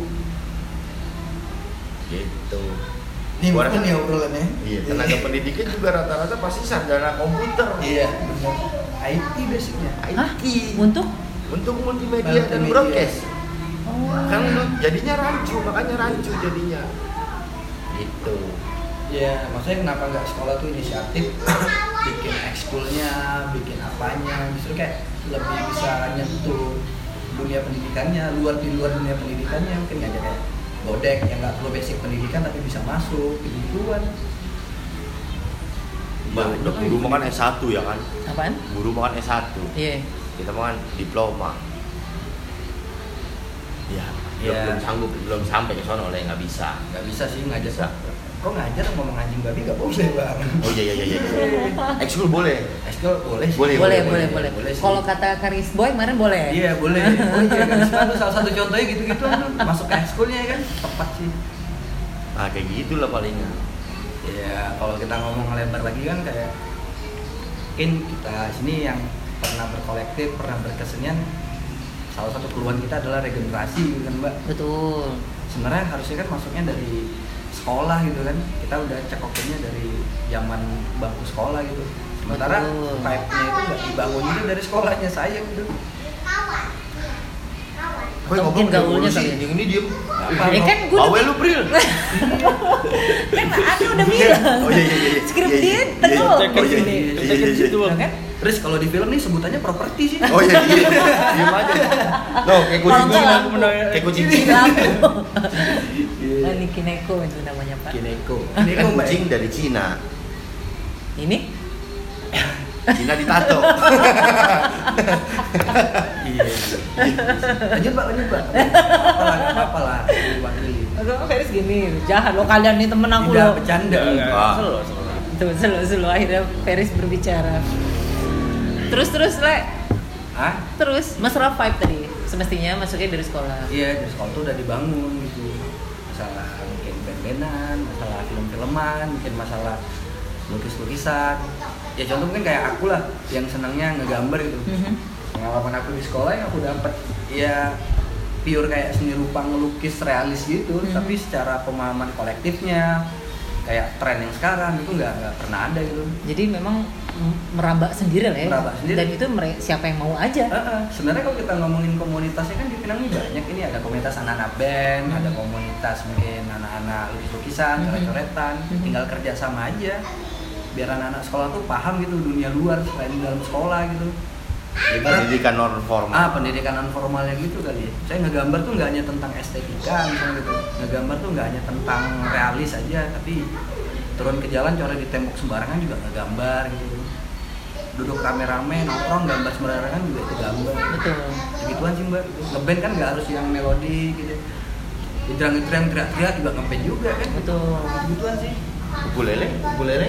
[SPEAKER 4] Gitu.
[SPEAKER 2] Nih,
[SPEAKER 4] Gua
[SPEAKER 2] bukan
[SPEAKER 4] rasa-
[SPEAKER 2] ya obrolannya.
[SPEAKER 4] Iya, tenaga pendidikan juga rata-rata pasti sarjana komputer.
[SPEAKER 2] Iya, benar. IT basicnya.
[SPEAKER 3] Hah?
[SPEAKER 4] IT.
[SPEAKER 3] Untuk
[SPEAKER 4] Untuk multimedia dan
[SPEAKER 2] Multimedia.
[SPEAKER 4] broadcast.
[SPEAKER 3] oh.
[SPEAKER 4] Kan lu jadinya rancu, makanya rancu jadinya. Gitu.
[SPEAKER 2] Ya, maksudnya kenapa nggak sekolah tuh inisiatif bikin ekskulnya, bikin apanya, justru kayak lebih bisa nyentuh dunia pendidikannya, luar di luar dunia pendidikannya mungkin aja kayak bodek yang nggak perlu basic pendidikan tapi bisa masuk keguruan.
[SPEAKER 4] Bang,
[SPEAKER 2] Iya,
[SPEAKER 4] udah
[SPEAKER 2] iya.
[SPEAKER 4] guru makan S1 ya kan?
[SPEAKER 3] apaan?
[SPEAKER 4] Guru makan S1.
[SPEAKER 3] Iya.
[SPEAKER 4] Kita makan diploma. Ya,
[SPEAKER 2] Iya.
[SPEAKER 4] belum sanggup, belum sampai ke sono lah nggak bisa.
[SPEAKER 2] nggak bisa sih ngajar
[SPEAKER 4] Bisa.
[SPEAKER 2] kok ngajar ngomong anjing babi nggak boleh bang
[SPEAKER 4] Oh iya iya iya. iya. Ekskul boleh.
[SPEAKER 2] ekskul boleh sih.
[SPEAKER 4] Boleh,
[SPEAKER 3] Boleh, boleh, boleh.
[SPEAKER 2] boleh sih.
[SPEAKER 3] Kalau kata Karis Boy kemarin boleh.
[SPEAKER 2] iya boleh boleh ya kan Itu salah satu contohnya gitu gitu masuk ke ekskulnya ya kan tepat sih
[SPEAKER 4] Nah kayak gitulah palingnya.
[SPEAKER 2] ya kalau kita ngomong lebar lagi kan kayak mungkin kita sini yang pernah berkolektif pernah berkesenian salah satu keluhan kita adalah regenerasi gitu kan mbak
[SPEAKER 3] Betul.
[SPEAKER 2] sebenarnya harusnya kan masuknya dari sekolah gitu kan kita udah cekokinnya dari zaman bangku sekolah gitu sementara
[SPEAKER 3] Betul.
[SPEAKER 2] pipe-nya itu nggak dibangun itu dari sekolahnya saya gitu
[SPEAKER 4] Boy,
[SPEAKER 3] Atau mungkin
[SPEAKER 4] ngomong dari
[SPEAKER 3] gaulnya
[SPEAKER 4] dulu
[SPEAKER 3] kali
[SPEAKER 4] sih,
[SPEAKER 3] ya.
[SPEAKER 4] Yang ini diem.
[SPEAKER 2] Iya apa
[SPEAKER 3] Ya kan gua
[SPEAKER 4] Bawel
[SPEAKER 3] udah-
[SPEAKER 4] lu Pril.
[SPEAKER 3] kan Anda udah bilang.
[SPEAKER 4] Oh iya iya iya.
[SPEAKER 3] Script
[SPEAKER 4] Iya,
[SPEAKER 3] dia
[SPEAKER 4] iya. Iya, iya.
[SPEAKER 3] terus.
[SPEAKER 4] Oh iya iya iya.
[SPEAKER 5] Cekin
[SPEAKER 4] iya,
[SPEAKER 5] situ,
[SPEAKER 4] iya.
[SPEAKER 5] Bang.
[SPEAKER 3] Kan?
[SPEAKER 2] Riz kalau di film nih sebutannya properti sih.
[SPEAKER 4] Oh iya, iya. Diem aja. Loh, kayak
[SPEAKER 3] Kalau
[SPEAKER 4] kucing.
[SPEAKER 3] enggak
[SPEAKER 5] aku menang.
[SPEAKER 4] Kayak kucing.
[SPEAKER 3] Lampu.
[SPEAKER 2] Iya.
[SPEAKER 3] Nah, Ini Kineko itu namanya Pak.
[SPEAKER 2] Kineko.
[SPEAKER 4] Ini kan
[SPEAKER 2] Mbak.
[SPEAKER 4] kucing dari Cina.
[SPEAKER 3] Ini
[SPEAKER 4] Cina ditato.
[SPEAKER 5] Iya.
[SPEAKER 2] Lanjut Pak, lanjut Pak. Apa lah, nggak apa-apa lah. Diwakili.
[SPEAKER 3] Agak Feris gini, jahat lo kalian nih temen aku
[SPEAKER 2] Tidak
[SPEAKER 3] lo.
[SPEAKER 2] bercanda.
[SPEAKER 4] Ah.
[SPEAKER 5] Selalu, selalu.
[SPEAKER 3] Tuh, selalu selalu akhirnya Feris berbicara. Terus terus le,
[SPEAKER 2] Hah?
[SPEAKER 3] terus mesra vibe tadi. Semestinya masuknya dari sekolah.
[SPEAKER 2] Iya, di sekolah tuh udah dibangun gitu. Masalah mungkin band-bandan, masalah film-filman, mungkin masalah lukis-lukisan. Ya contoh mungkin kayak aku lah yang senangnya ngegambar gitu.
[SPEAKER 3] Mhm.
[SPEAKER 2] Pengalaman aku di sekolah yang aku dapat ya pure kayak seni rupa ngelukis realis gitu,
[SPEAKER 3] Mhm.
[SPEAKER 2] tapi secara pemahaman kolektifnya kayak tren yang sekarang itu nggak nggak pernah ada gitu.
[SPEAKER 3] Jadi memang m- merambak sendiri lah ya.
[SPEAKER 2] Merambak sendiri.
[SPEAKER 3] Dan itu mere- siapa yang mau aja.
[SPEAKER 2] Heeh, sebenarnya kalau kita ngomongin komunitasnya kan di Pinang ini banyak ini ada komunitas anak-anak band,
[SPEAKER 3] Hmm.
[SPEAKER 2] ada komunitas mungkin anak-anak lukis-lukisan,
[SPEAKER 3] Hmm.
[SPEAKER 2] coret-coretan,
[SPEAKER 3] Hmm.
[SPEAKER 2] tinggal kerja sama aja. Biar anak-anak sekolah tuh paham gitu dunia luar selain dalam sekolah gitu. Ibarat
[SPEAKER 4] Pendidikan non formal.
[SPEAKER 2] ah pendidikan non formalnya gitu kali ya. Saya ngegambar tuh nggak hanya tentang estetika misalnya gitu. Ngegambar tuh nggak hanya tentang realis aja, tapi turun ke jalan coret di tembok sembarangan juga ngegambar gitu. Duduk rame-rame, nongkrong, gambar sembarangan kan juga itu gambar
[SPEAKER 3] Betul.
[SPEAKER 2] begituan sih mbak ngeband kan nggak harus yang melodi gitu Hijrang-hijrang teriak-teriak juga ngeband juga kan
[SPEAKER 3] Betul.
[SPEAKER 2] begituan sih Ah.
[SPEAKER 4] Ukulele, ukulele.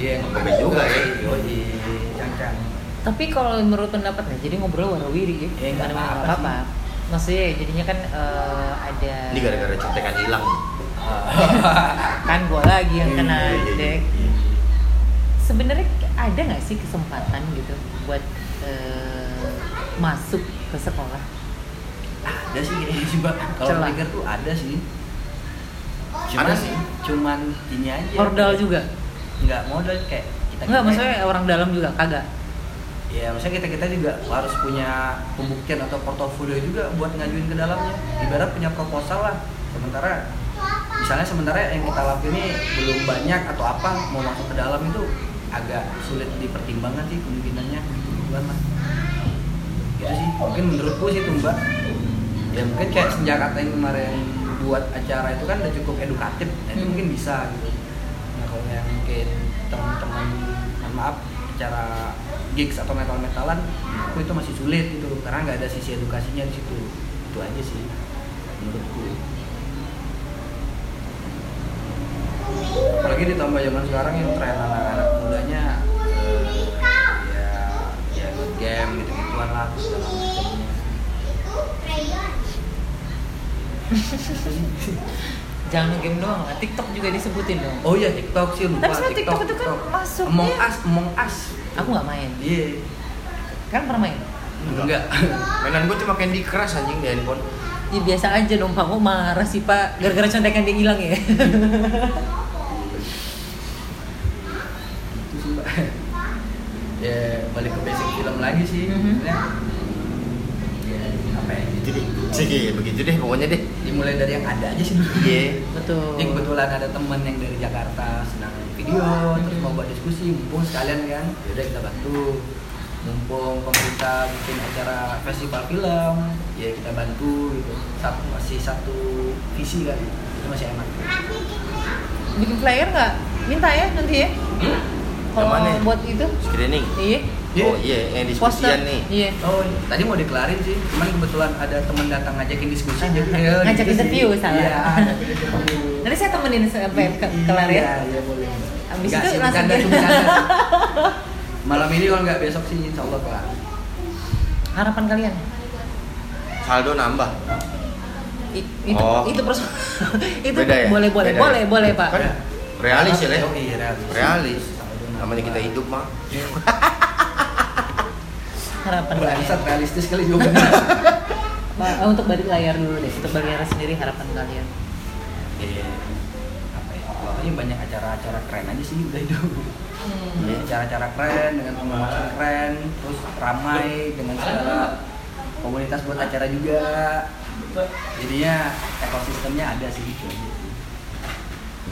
[SPEAKER 2] iya
[SPEAKER 4] Ngeband juga ya.
[SPEAKER 2] yoi cang-cang
[SPEAKER 3] Tapi kalau menurut pendapat nih, jadi ngobrol warawiri
[SPEAKER 2] Ya,
[SPEAKER 4] Iya,
[SPEAKER 3] Karena
[SPEAKER 2] nggak
[SPEAKER 3] nggak
[SPEAKER 2] apa-apa
[SPEAKER 3] apa-apa. Maksudnya jadinya kan eh, ada
[SPEAKER 4] Ini gara-gara contekan hilang.
[SPEAKER 3] kan gua lagi yang kena
[SPEAKER 4] Iya, iya, iya.
[SPEAKER 3] dek. Sebenarnya ada nggak sih kesempatan gitu buat eh, masuk ke sekolah?
[SPEAKER 2] ada sih kayaknya sih mbak kalau
[SPEAKER 3] Celah.
[SPEAKER 2] pikir tuh ada sih
[SPEAKER 4] Ada sih.
[SPEAKER 2] cuman ini aja
[SPEAKER 4] Iya,
[SPEAKER 3] Ordal juga?
[SPEAKER 2] nggak modal kayak kita
[SPEAKER 3] Enggak, maksudnya orang dalam juga kagak.
[SPEAKER 2] ya maksudnya kita kita juga harus punya pembuktian atau portofolio juga buat ngajuin ke dalamnya ibarat punya proposal lah sementara misalnya sementara yang kita lakuin ini belum banyak atau apa mau masuk ke dalam itu agak sulit dipertimbangkan sih kemungkinannya bukan lah gitu sih mungkin menurutku sih itu mbak ya mungkin kayak senja kata yang kemarin buat acara itu kan udah cukup edukatif nah itu
[SPEAKER 3] Hmm.
[SPEAKER 2] mungkin bisa gitu nah kalau yang mungkin teman-teman mohon maaf acara gigs atau metal metalan aku itu masih sulit gitu karena nggak ada sisi edukasinya di situ itu aja sih menurutku apalagi ditambah zaman sekarang yang tren anak-anak mudanya eh, ya ya game gitu gituan lah segala macamnya
[SPEAKER 3] Jangan game doang lah, TikTok juga disebutin dong.
[SPEAKER 2] Oh iya TikTok sih lupa.
[SPEAKER 3] Tapi sebenarnya TikTok itu kan masuknya-
[SPEAKER 2] Among Us, Among Us.
[SPEAKER 3] Aku nggak main.
[SPEAKER 2] Iya.
[SPEAKER 3] Kan pernah main?
[SPEAKER 2] Enggak.
[SPEAKER 4] Mainan gue cuma Candy Crush anjing di handphone.
[SPEAKER 3] Ya biasa aja dong Pak, kok marah sih Pak? Gara-gara contekan dia hilang ya?
[SPEAKER 4] Iya.
[SPEAKER 2] Itu sih, Mbak. ya balik ke basic film lagi sih.
[SPEAKER 3] Mhm.
[SPEAKER 2] Ya. Ya, apa ya?
[SPEAKER 4] Gitu deh. Sige, begitu deh pokoknya deh.
[SPEAKER 2] Dimulai dari yang ada aja sih dulu.
[SPEAKER 4] Iya.
[SPEAKER 3] Betul.
[SPEAKER 2] Ini kebetulan ada temen yang dari Jakarta senang video, terus mau buat diskusi, mumpung sekalian kan, yaudah kita bantu. Mumpung pemerintah bikin acara festival film, ya kita bantu gitu. Satu masih satu visi kan, itu masih enak.
[SPEAKER 3] Bikin flyer nggak? Minta ya nanti ya? Kalau
[SPEAKER 4] Hmm? Yang mana?
[SPEAKER 3] buat itu?
[SPEAKER 4] Screening.
[SPEAKER 3] Iya.
[SPEAKER 4] Oh iya, yang
[SPEAKER 3] Poster.
[SPEAKER 4] diskusian nih.
[SPEAKER 3] Iya.
[SPEAKER 2] Oh, tadi mau dikelarin sih, cuman kebetulan ada temen datang ngajakin diskusi, jadi ya,
[SPEAKER 3] Ah, Ngajak
[SPEAKER 2] gitu sih.
[SPEAKER 3] interview, salah.
[SPEAKER 2] Iya, ngajak interview.
[SPEAKER 3] Nanti saya temenin sampai ke kelar ya.
[SPEAKER 2] Iya, iya boleh.
[SPEAKER 3] Abis
[SPEAKER 2] Nggak
[SPEAKER 3] itu
[SPEAKER 2] sih,
[SPEAKER 3] langsung
[SPEAKER 2] bercanda,
[SPEAKER 3] dia-
[SPEAKER 2] bercanda sih. Malam ini kalau nggak besok sih, insya Allah kelar.
[SPEAKER 3] Harapan kalian?
[SPEAKER 4] Saldo nambah.
[SPEAKER 3] I- itu
[SPEAKER 4] Oh.
[SPEAKER 3] itu perso- itu
[SPEAKER 4] Beda ya?
[SPEAKER 3] boleh boleh
[SPEAKER 4] Beda ya?
[SPEAKER 3] boleh boleh Pak.
[SPEAKER 4] Kan realis ya, Le.
[SPEAKER 2] Oh, iya, realis.
[SPEAKER 4] Realis. Namanya kita hidup, mah. Kan
[SPEAKER 3] Harapan kalian.
[SPEAKER 2] Bangsat realistis kali juga.
[SPEAKER 3] Ba- untuk balik layar dulu deh. Untuk balik layar sendiri harapan kalian.
[SPEAKER 2] Iya. Apa ya? Pokoknya banyak acara-acara keren aja sih udah itu.
[SPEAKER 4] Iya.
[SPEAKER 2] Acara-acara keren dengan pembahasan keren, terus ramai dengan segala komunitas buat acara juga. Jadinya ekosistemnya ada sih gitu. aja.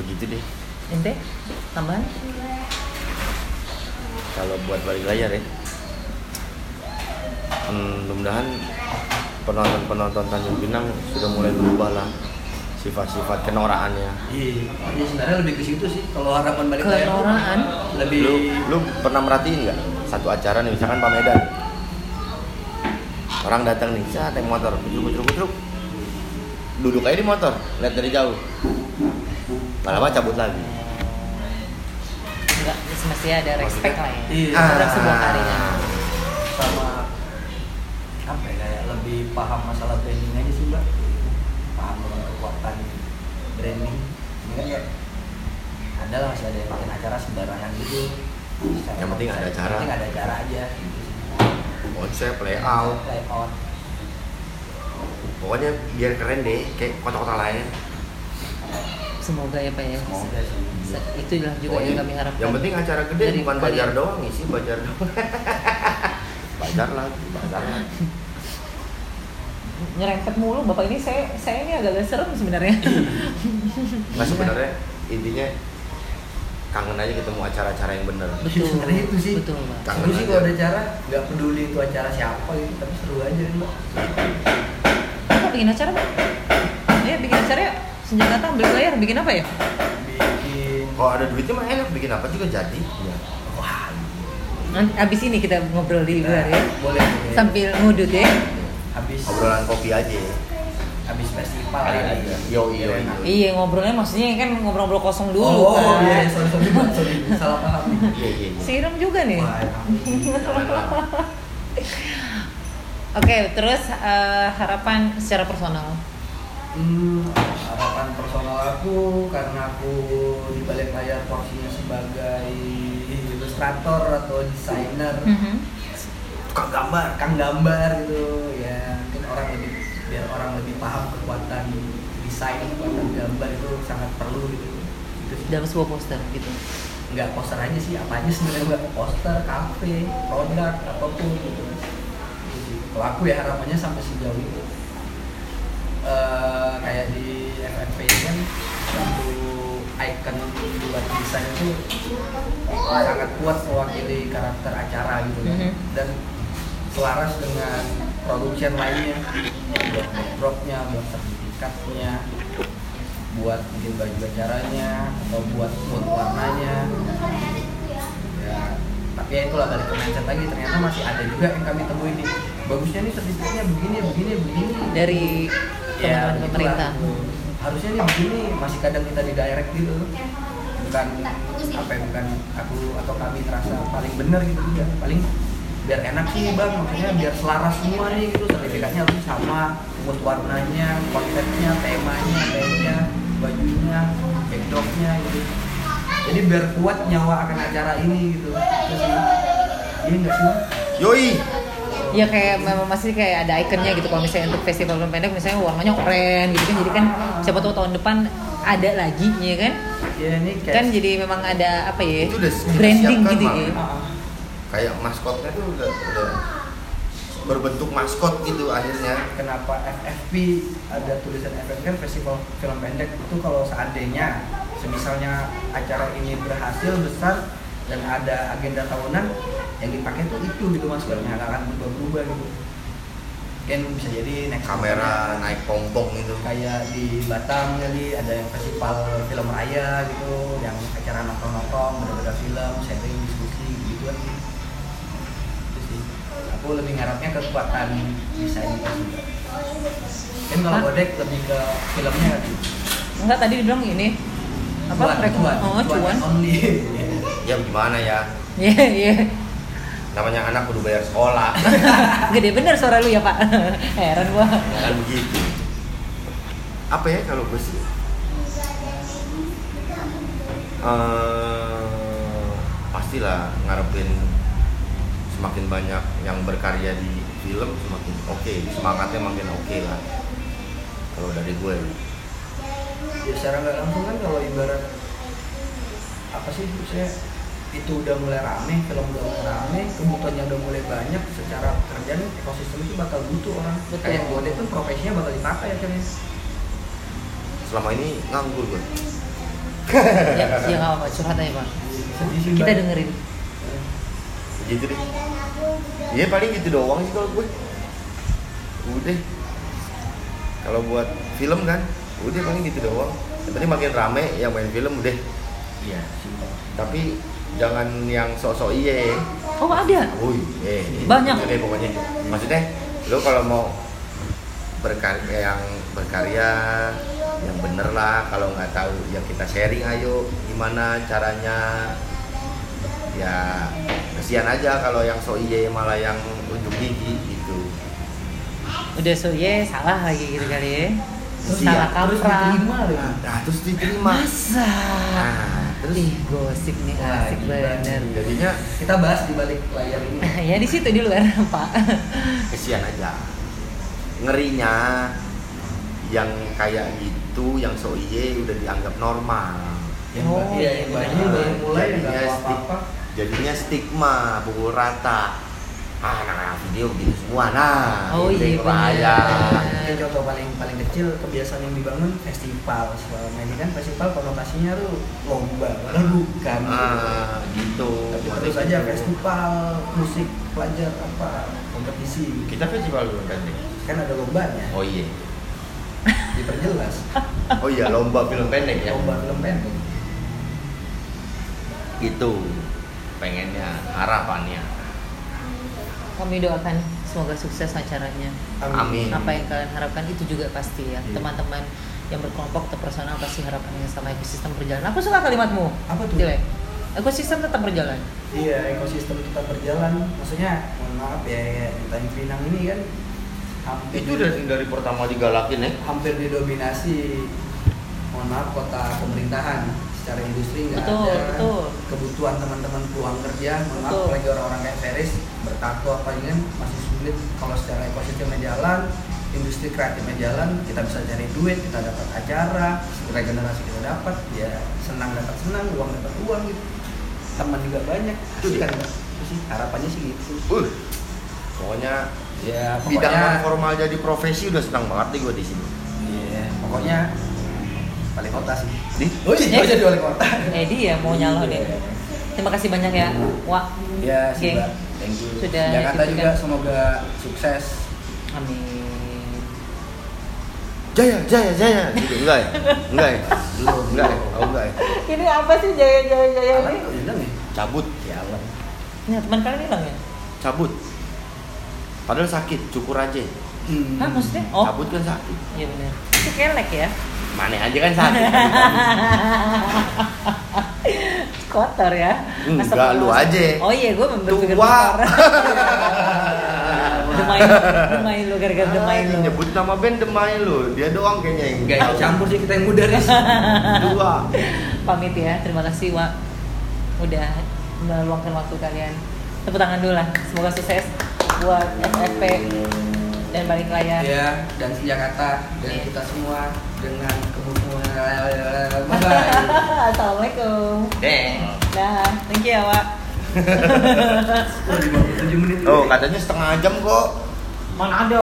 [SPEAKER 4] Begitu deh.
[SPEAKER 3] Ente tambahan?
[SPEAKER 4] Kalau buat balik layar ya. Hmm, mudah-mudahan penonton-penonton Tanjung Pinang sudah mulai berubah lah sifat-sifat kenoraannya.
[SPEAKER 2] Iya, ya sebenarnya lebih ke situ sih. Kalau harapan balik layar tuh
[SPEAKER 3] Kenoraan.
[SPEAKER 2] lebih
[SPEAKER 4] Lu, lu pernah merhatiin nggak satu acara nih misalkan Pamedan orang datang nih saya naik motor kutruk kutruk kutruk duduk aja di motor lihat dari jauh lama-lama cabut lagi
[SPEAKER 3] Enggak, semestinya ada respect lah ya.
[SPEAKER 2] Iya.
[SPEAKER 3] Terhadap sebuah karya.
[SPEAKER 4] Ah.
[SPEAKER 2] sama apa ya kayak lebih paham masalah branding aja sih mbak. Paham dengan kekuatan branding. Enggak
[SPEAKER 3] Iya.
[SPEAKER 2] ya. Ada lah masih ada yang bikin acara sembarangan gitu. Secara-
[SPEAKER 4] Yang penting ada acara.
[SPEAKER 2] Yang penting ada acara aja. gitu.
[SPEAKER 4] konsep layout
[SPEAKER 2] Layout.
[SPEAKER 4] pokoknya biar keren deh kayak kota-kota lain
[SPEAKER 3] Semoga ya Pak ya.
[SPEAKER 2] Semoga sih.
[SPEAKER 4] Iya.
[SPEAKER 3] Se- Itulah juga yang
[SPEAKER 4] Pokoknya
[SPEAKER 3] kami harapkan.
[SPEAKER 4] Oh, iya. yang penting acara gede
[SPEAKER 3] Dari
[SPEAKER 4] bukan
[SPEAKER 3] kalian.
[SPEAKER 4] bajar doang ngisi bajar doang bajar lagi bajar lagi
[SPEAKER 3] nyerempet mulu. Bapak ini saya saya ini agak-agak serem sebenarnya.
[SPEAKER 4] nggak sebenarnya intinya kangen aja ketemu acara-acara yang bener
[SPEAKER 3] betul.
[SPEAKER 2] Sebenarnya itu sih.
[SPEAKER 3] Betul, Pak.
[SPEAKER 4] Kangen
[SPEAKER 2] Tapi sih kalau
[SPEAKER 4] aja.
[SPEAKER 2] ada acara nggak peduli itu acara siapa gitu, tapi seru aja kan mbak.
[SPEAKER 3] Bapak bikin acara, Pak? Iya, bikin acara ya. Senjata ambil layar bikin apa ya?
[SPEAKER 2] Bikin
[SPEAKER 4] kalau ada duitnya mah enak bikin apa juga jadi ya.
[SPEAKER 2] wah
[SPEAKER 3] Nanti abis ini kita ngobrol di luar ya.
[SPEAKER 2] Nah, boleh boleh.
[SPEAKER 3] Sambil ngudut ya.
[SPEAKER 2] habis
[SPEAKER 4] obrolan kopi aja ya.
[SPEAKER 2] habis festival
[SPEAKER 4] Ada
[SPEAKER 2] ya.
[SPEAKER 4] aja. Yo, yo, yo.
[SPEAKER 3] Iya, ngobrolnya maksudnya kan ngobrol-ngobrol kosong
[SPEAKER 2] Dulu.
[SPEAKER 3] dulu.
[SPEAKER 2] Oh
[SPEAKER 3] kan.
[SPEAKER 2] iya, sorry sorry Mbak, sorry salah paham. nih.
[SPEAKER 4] iya iya iya.
[SPEAKER 3] Siram juga nih.
[SPEAKER 2] Wah, ya
[SPEAKER 4] Jangan lah.
[SPEAKER 3] Oke, terus eh, harapan secara personal.
[SPEAKER 2] Hmm, harapan personal aku karena aku di balik layar porsinya sebagai ilustrator atau desainer,
[SPEAKER 3] Mhm.
[SPEAKER 2] tukang gambar, kang gambar gitu ya mungkin orang lebih biar orang lebih paham kekuatan desain, kekuatan gambar itu sangat perlu gitu. Itu sih.
[SPEAKER 3] Dalam sebuah poster gitu.
[SPEAKER 2] nggak poster aja sih apa aja sebenarnya mbak poster kafe produk apapun gitu Jadi, kalau aku ya harapannya sampai sejauh itu Eh, kayak di FFP ini kan satu icon buat desain itu sangat kuat mewakili karakter acara gitu kan.
[SPEAKER 3] Mhm.
[SPEAKER 2] dan selaras dengan production lainnya buat backdropnya buat sertifikatnya buat bikin baju acaranya atau buat mood warnanya ya tapi ya itulah balik ke mindset lagi ternyata masih ada juga yang kami temui nih bagusnya nih sertifikatnya begini begini begini
[SPEAKER 3] Dari teman-teman
[SPEAKER 2] Iya, begitulah.
[SPEAKER 3] pemerintah.
[SPEAKER 2] harusnya nih begini masih kadang kita di direct gitu bukan apa ya, bukan aku atau kami terasa paling bener gitu juga paling biar enak sih bang maksudnya biar selaras semua nih gitu sertifikatnya harus sama mood warnanya konsepnya temanya temanya bajunya backdropnya gitu jadi biar kuat nyawa akan acara ini gitu Terus, iya nggak sih Bang?
[SPEAKER 4] yoi
[SPEAKER 3] Ya kayak memang masih kayak ada ikonnya gitu kalau misalnya untuk festival film pendek misalnya warnanya oranye gitu kan jadi kan siapa tahu tahun depan ada lagi ya kan
[SPEAKER 2] ya ini kayak
[SPEAKER 3] kan jadi memang ada apa ya
[SPEAKER 4] Itu udah kita
[SPEAKER 3] branding
[SPEAKER 4] siapkan,
[SPEAKER 3] gitu
[SPEAKER 4] Mak.
[SPEAKER 3] ya
[SPEAKER 2] Ah, ah.
[SPEAKER 4] kayak maskotnya tuh udah, udah berbentuk maskot gitu akhirnya
[SPEAKER 2] kenapa FFP ada tulisan FFP kan festival film pendek itu kalau seandainya semisalnya acara ini berhasil besar dan ada agenda tahunan yang dipakai tuh itu gitu mas kalau nggak akan berubah-ubah gitu kan bisa jadi next
[SPEAKER 4] kamera naik pompong gitu
[SPEAKER 2] kayak di Batam kali ada yang festival film raya gitu yang acara nonton-nonton berbeda film sharing diskusi gitu kan itu sih aku lebih ngarapnya ke kekuatan desain itu juga kan kalau
[SPEAKER 3] Hah?
[SPEAKER 2] bodek lebih ke filmnya kan
[SPEAKER 3] enggak tadi dibilang ini apa mereka oh cuan
[SPEAKER 2] only
[SPEAKER 4] ya gimana ya
[SPEAKER 3] ya ya
[SPEAKER 4] namanya anak kudu bayar sekolah
[SPEAKER 3] gede bener suara lu ya pak heran gua
[SPEAKER 4] kan begitu apa ya kalau gue sih Eh, pastilah ngarepin semakin banyak yang berkarya di film semakin oke semangatnya makin oke lah kalau dari gue
[SPEAKER 2] ya secara nggak langsung kan kalau ibarat apa sih saya itu udah mulai rame film udah mulai rame kebutuhannya udah mulai banyak secara pekerjaan ekosistem itu bakal butuh orang
[SPEAKER 3] Betul.
[SPEAKER 2] kayak bodek pun profesinya bakal dipakai akhirnya
[SPEAKER 4] selama ini nganggur gue
[SPEAKER 3] ya ya nggak apa-apa curhat aja pak
[SPEAKER 2] sedih sih
[SPEAKER 3] kita
[SPEAKER 2] Mbak.
[SPEAKER 3] dengerin
[SPEAKER 4] gitu deh Iya paling gitu doang sih kalau gue. Udah. Kalau buat film kan, udah paling gitu doang. Yang penting makin rame yang main film udah.
[SPEAKER 2] Iya.
[SPEAKER 4] Tapi jangan yang sok-sok iye.
[SPEAKER 3] Oh ada.
[SPEAKER 4] Woi, eh,
[SPEAKER 3] Banyak.
[SPEAKER 4] Itu deh pokoknya. Maksudnya lo kalau mau berkarya yang berkarya yang bener lah kalau nggak tahu ya kita sharing ayo gimana caranya ya kasihan aja kalau yang so iye malah yang unjuk gigi gitu
[SPEAKER 3] Udah so ye salah lagi gitu kali ya. Terus
[SPEAKER 4] Iya,
[SPEAKER 3] salah
[SPEAKER 2] Terus
[SPEAKER 3] kaprah.
[SPEAKER 2] diterima loh.
[SPEAKER 4] nah terus diterima
[SPEAKER 3] Masa?
[SPEAKER 4] nah terus
[SPEAKER 3] Ih gosip nih
[SPEAKER 2] Wah,
[SPEAKER 3] asik
[SPEAKER 2] gila.
[SPEAKER 3] bener.
[SPEAKER 4] jadinya
[SPEAKER 2] Kita bahas di balik layar ini.
[SPEAKER 3] ya di situ di luar pak.
[SPEAKER 4] kesian aja ngerinya yang kayak gitu yang so iye udah dianggap normal Ya
[SPEAKER 2] Yang
[SPEAKER 3] Oh,
[SPEAKER 2] ba- iya, yang
[SPEAKER 3] iya.
[SPEAKER 2] banyak baru mulai ya,
[SPEAKER 4] Jadinya
[SPEAKER 2] nggak
[SPEAKER 4] sti-
[SPEAKER 2] apa-apa.
[SPEAKER 4] jadinya stigma pukul rata ah anak-anak video begini semua nah
[SPEAKER 3] Oh, iya,
[SPEAKER 4] ini bahaya
[SPEAKER 3] bener.
[SPEAKER 2] Mungkin contoh paling paling kecil kebiasaan yang dibangun festival selama ini kan festival konotasinya tuh lomba padahal bukan
[SPEAKER 4] ah gitu
[SPEAKER 2] tapi
[SPEAKER 4] Maksudnya
[SPEAKER 2] terus aja
[SPEAKER 4] gitu.
[SPEAKER 2] festival musik pelajar apa kompetisi
[SPEAKER 4] kita festival dulu kan Dik?
[SPEAKER 2] kan ada lombanya
[SPEAKER 4] oh iya
[SPEAKER 2] diperjelas
[SPEAKER 4] oh iya lomba film pendek ya
[SPEAKER 2] lomba film pendek
[SPEAKER 4] gitu pengennya harapannya
[SPEAKER 3] Kami doakan semoga sukses acaranya.
[SPEAKER 2] Hmm.
[SPEAKER 4] Amin.
[SPEAKER 3] Apa ya? yang kalian harapkan itu juga pasti ya
[SPEAKER 4] Iya.
[SPEAKER 3] teman-teman yang berkelompok atau personal pasti harapan yang sama ekosistem berjalan. Aku suka kalimatmu.
[SPEAKER 2] Apa tuh?
[SPEAKER 3] Jelek. Ekosistem tetap berjalan.
[SPEAKER 2] iya ekosistem kita berjalan maksudnya mohon maaf ya, ya di Tanjung Pinang ini kan hampir
[SPEAKER 4] itu dari dari pertama digalakin ya
[SPEAKER 2] hampir didominasi mohon maaf kota pemerintahan secara industri nggak
[SPEAKER 3] Betul,
[SPEAKER 2] ada
[SPEAKER 3] betul.
[SPEAKER 2] kebutuhan teman-teman peluang kerja mohon maaf
[SPEAKER 3] Betul.
[SPEAKER 2] apalagi orang-orang kayak Feris bertato apa ini kan masih sulit kalau secara ekosistemnya jalan industri kreatifnya jalan kita bisa cari duit kita dapat acara regenerasi kita dapat ya senang dapat senang uang dapat uang gitu teman juga
[SPEAKER 3] Iya.
[SPEAKER 2] banyak
[SPEAKER 4] Itu
[SPEAKER 2] Asik
[SPEAKER 4] dia.
[SPEAKER 2] kan Apa sih harapannya sih gitu
[SPEAKER 4] uh pokoknya
[SPEAKER 2] ya
[SPEAKER 4] bidang
[SPEAKER 2] pokoknya
[SPEAKER 4] formal jadi profesi udah senang banget nih gue di sini
[SPEAKER 2] Iya, pokoknya balik kota sih
[SPEAKER 4] Di?
[SPEAKER 2] Oh iya,
[SPEAKER 3] Yes.
[SPEAKER 2] jadi wali kota.
[SPEAKER 3] Eh dia mau nyalonin.
[SPEAKER 2] Iya.
[SPEAKER 3] Terima kasih banyak ya, Wak.
[SPEAKER 2] Ya,
[SPEAKER 3] Geng.
[SPEAKER 2] sudah. Thank you.
[SPEAKER 3] Sudah
[SPEAKER 2] Jakarta
[SPEAKER 3] diberikan.
[SPEAKER 2] juga semoga sukses.
[SPEAKER 3] Amin.
[SPEAKER 4] Jaya, Jaya, Jaya. Gitu, enggak ya? Enggak ya?
[SPEAKER 2] Belum,
[SPEAKER 4] Enggak ya? Oh, enggak ya?
[SPEAKER 3] Ini apa sih jaya jaya jaya
[SPEAKER 2] Alan
[SPEAKER 3] ini?
[SPEAKER 2] kok hilang ya?
[SPEAKER 4] Cabut. Ya Allah.
[SPEAKER 3] Nah, teman kalian hilang ya?
[SPEAKER 2] Hmm.
[SPEAKER 4] Cabut. Padahal sakit, cukur aja.
[SPEAKER 2] Hmm.
[SPEAKER 3] Hah maksudnya? Oh,
[SPEAKER 4] Cabut kan sakit.
[SPEAKER 3] iya benar. Itu kelek ya?
[SPEAKER 4] Mana aja kan sakit.
[SPEAKER 3] Kotor ya?
[SPEAKER 4] Hmm, Enggak,
[SPEAKER 3] Astagfirullah.
[SPEAKER 4] lu aja.
[SPEAKER 3] Oh iya, gue berpikir
[SPEAKER 4] Tua.
[SPEAKER 3] kotor.
[SPEAKER 2] Hmm.
[SPEAKER 3] Ah, demai, demai lu gara-gara demai lu.
[SPEAKER 4] Ah, Nyebut nama band Demai lu. Dia doang kayaknya yang
[SPEAKER 2] Enggak ikut campur sih kita yang muda nih.
[SPEAKER 4] Dua.
[SPEAKER 3] Pamit ya, terima kasih Wak. Udah meluangkan waktu kalian. Tepuk tangan dulu lah, semoga sukses buat FFP dan balik layar.
[SPEAKER 4] Iya.
[SPEAKER 2] ya, dan si Jakarta dan
[SPEAKER 3] Iya.
[SPEAKER 2] kita semua dengan kebutuhan. Bye bye.
[SPEAKER 3] Assalamualaikum.
[SPEAKER 4] Deng.
[SPEAKER 3] Dah, thank you ya Wak.
[SPEAKER 2] Oh, 57 menit.
[SPEAKER 4] Oh, katanya setengah jam kok.
[SPEAKER 3] Mana ada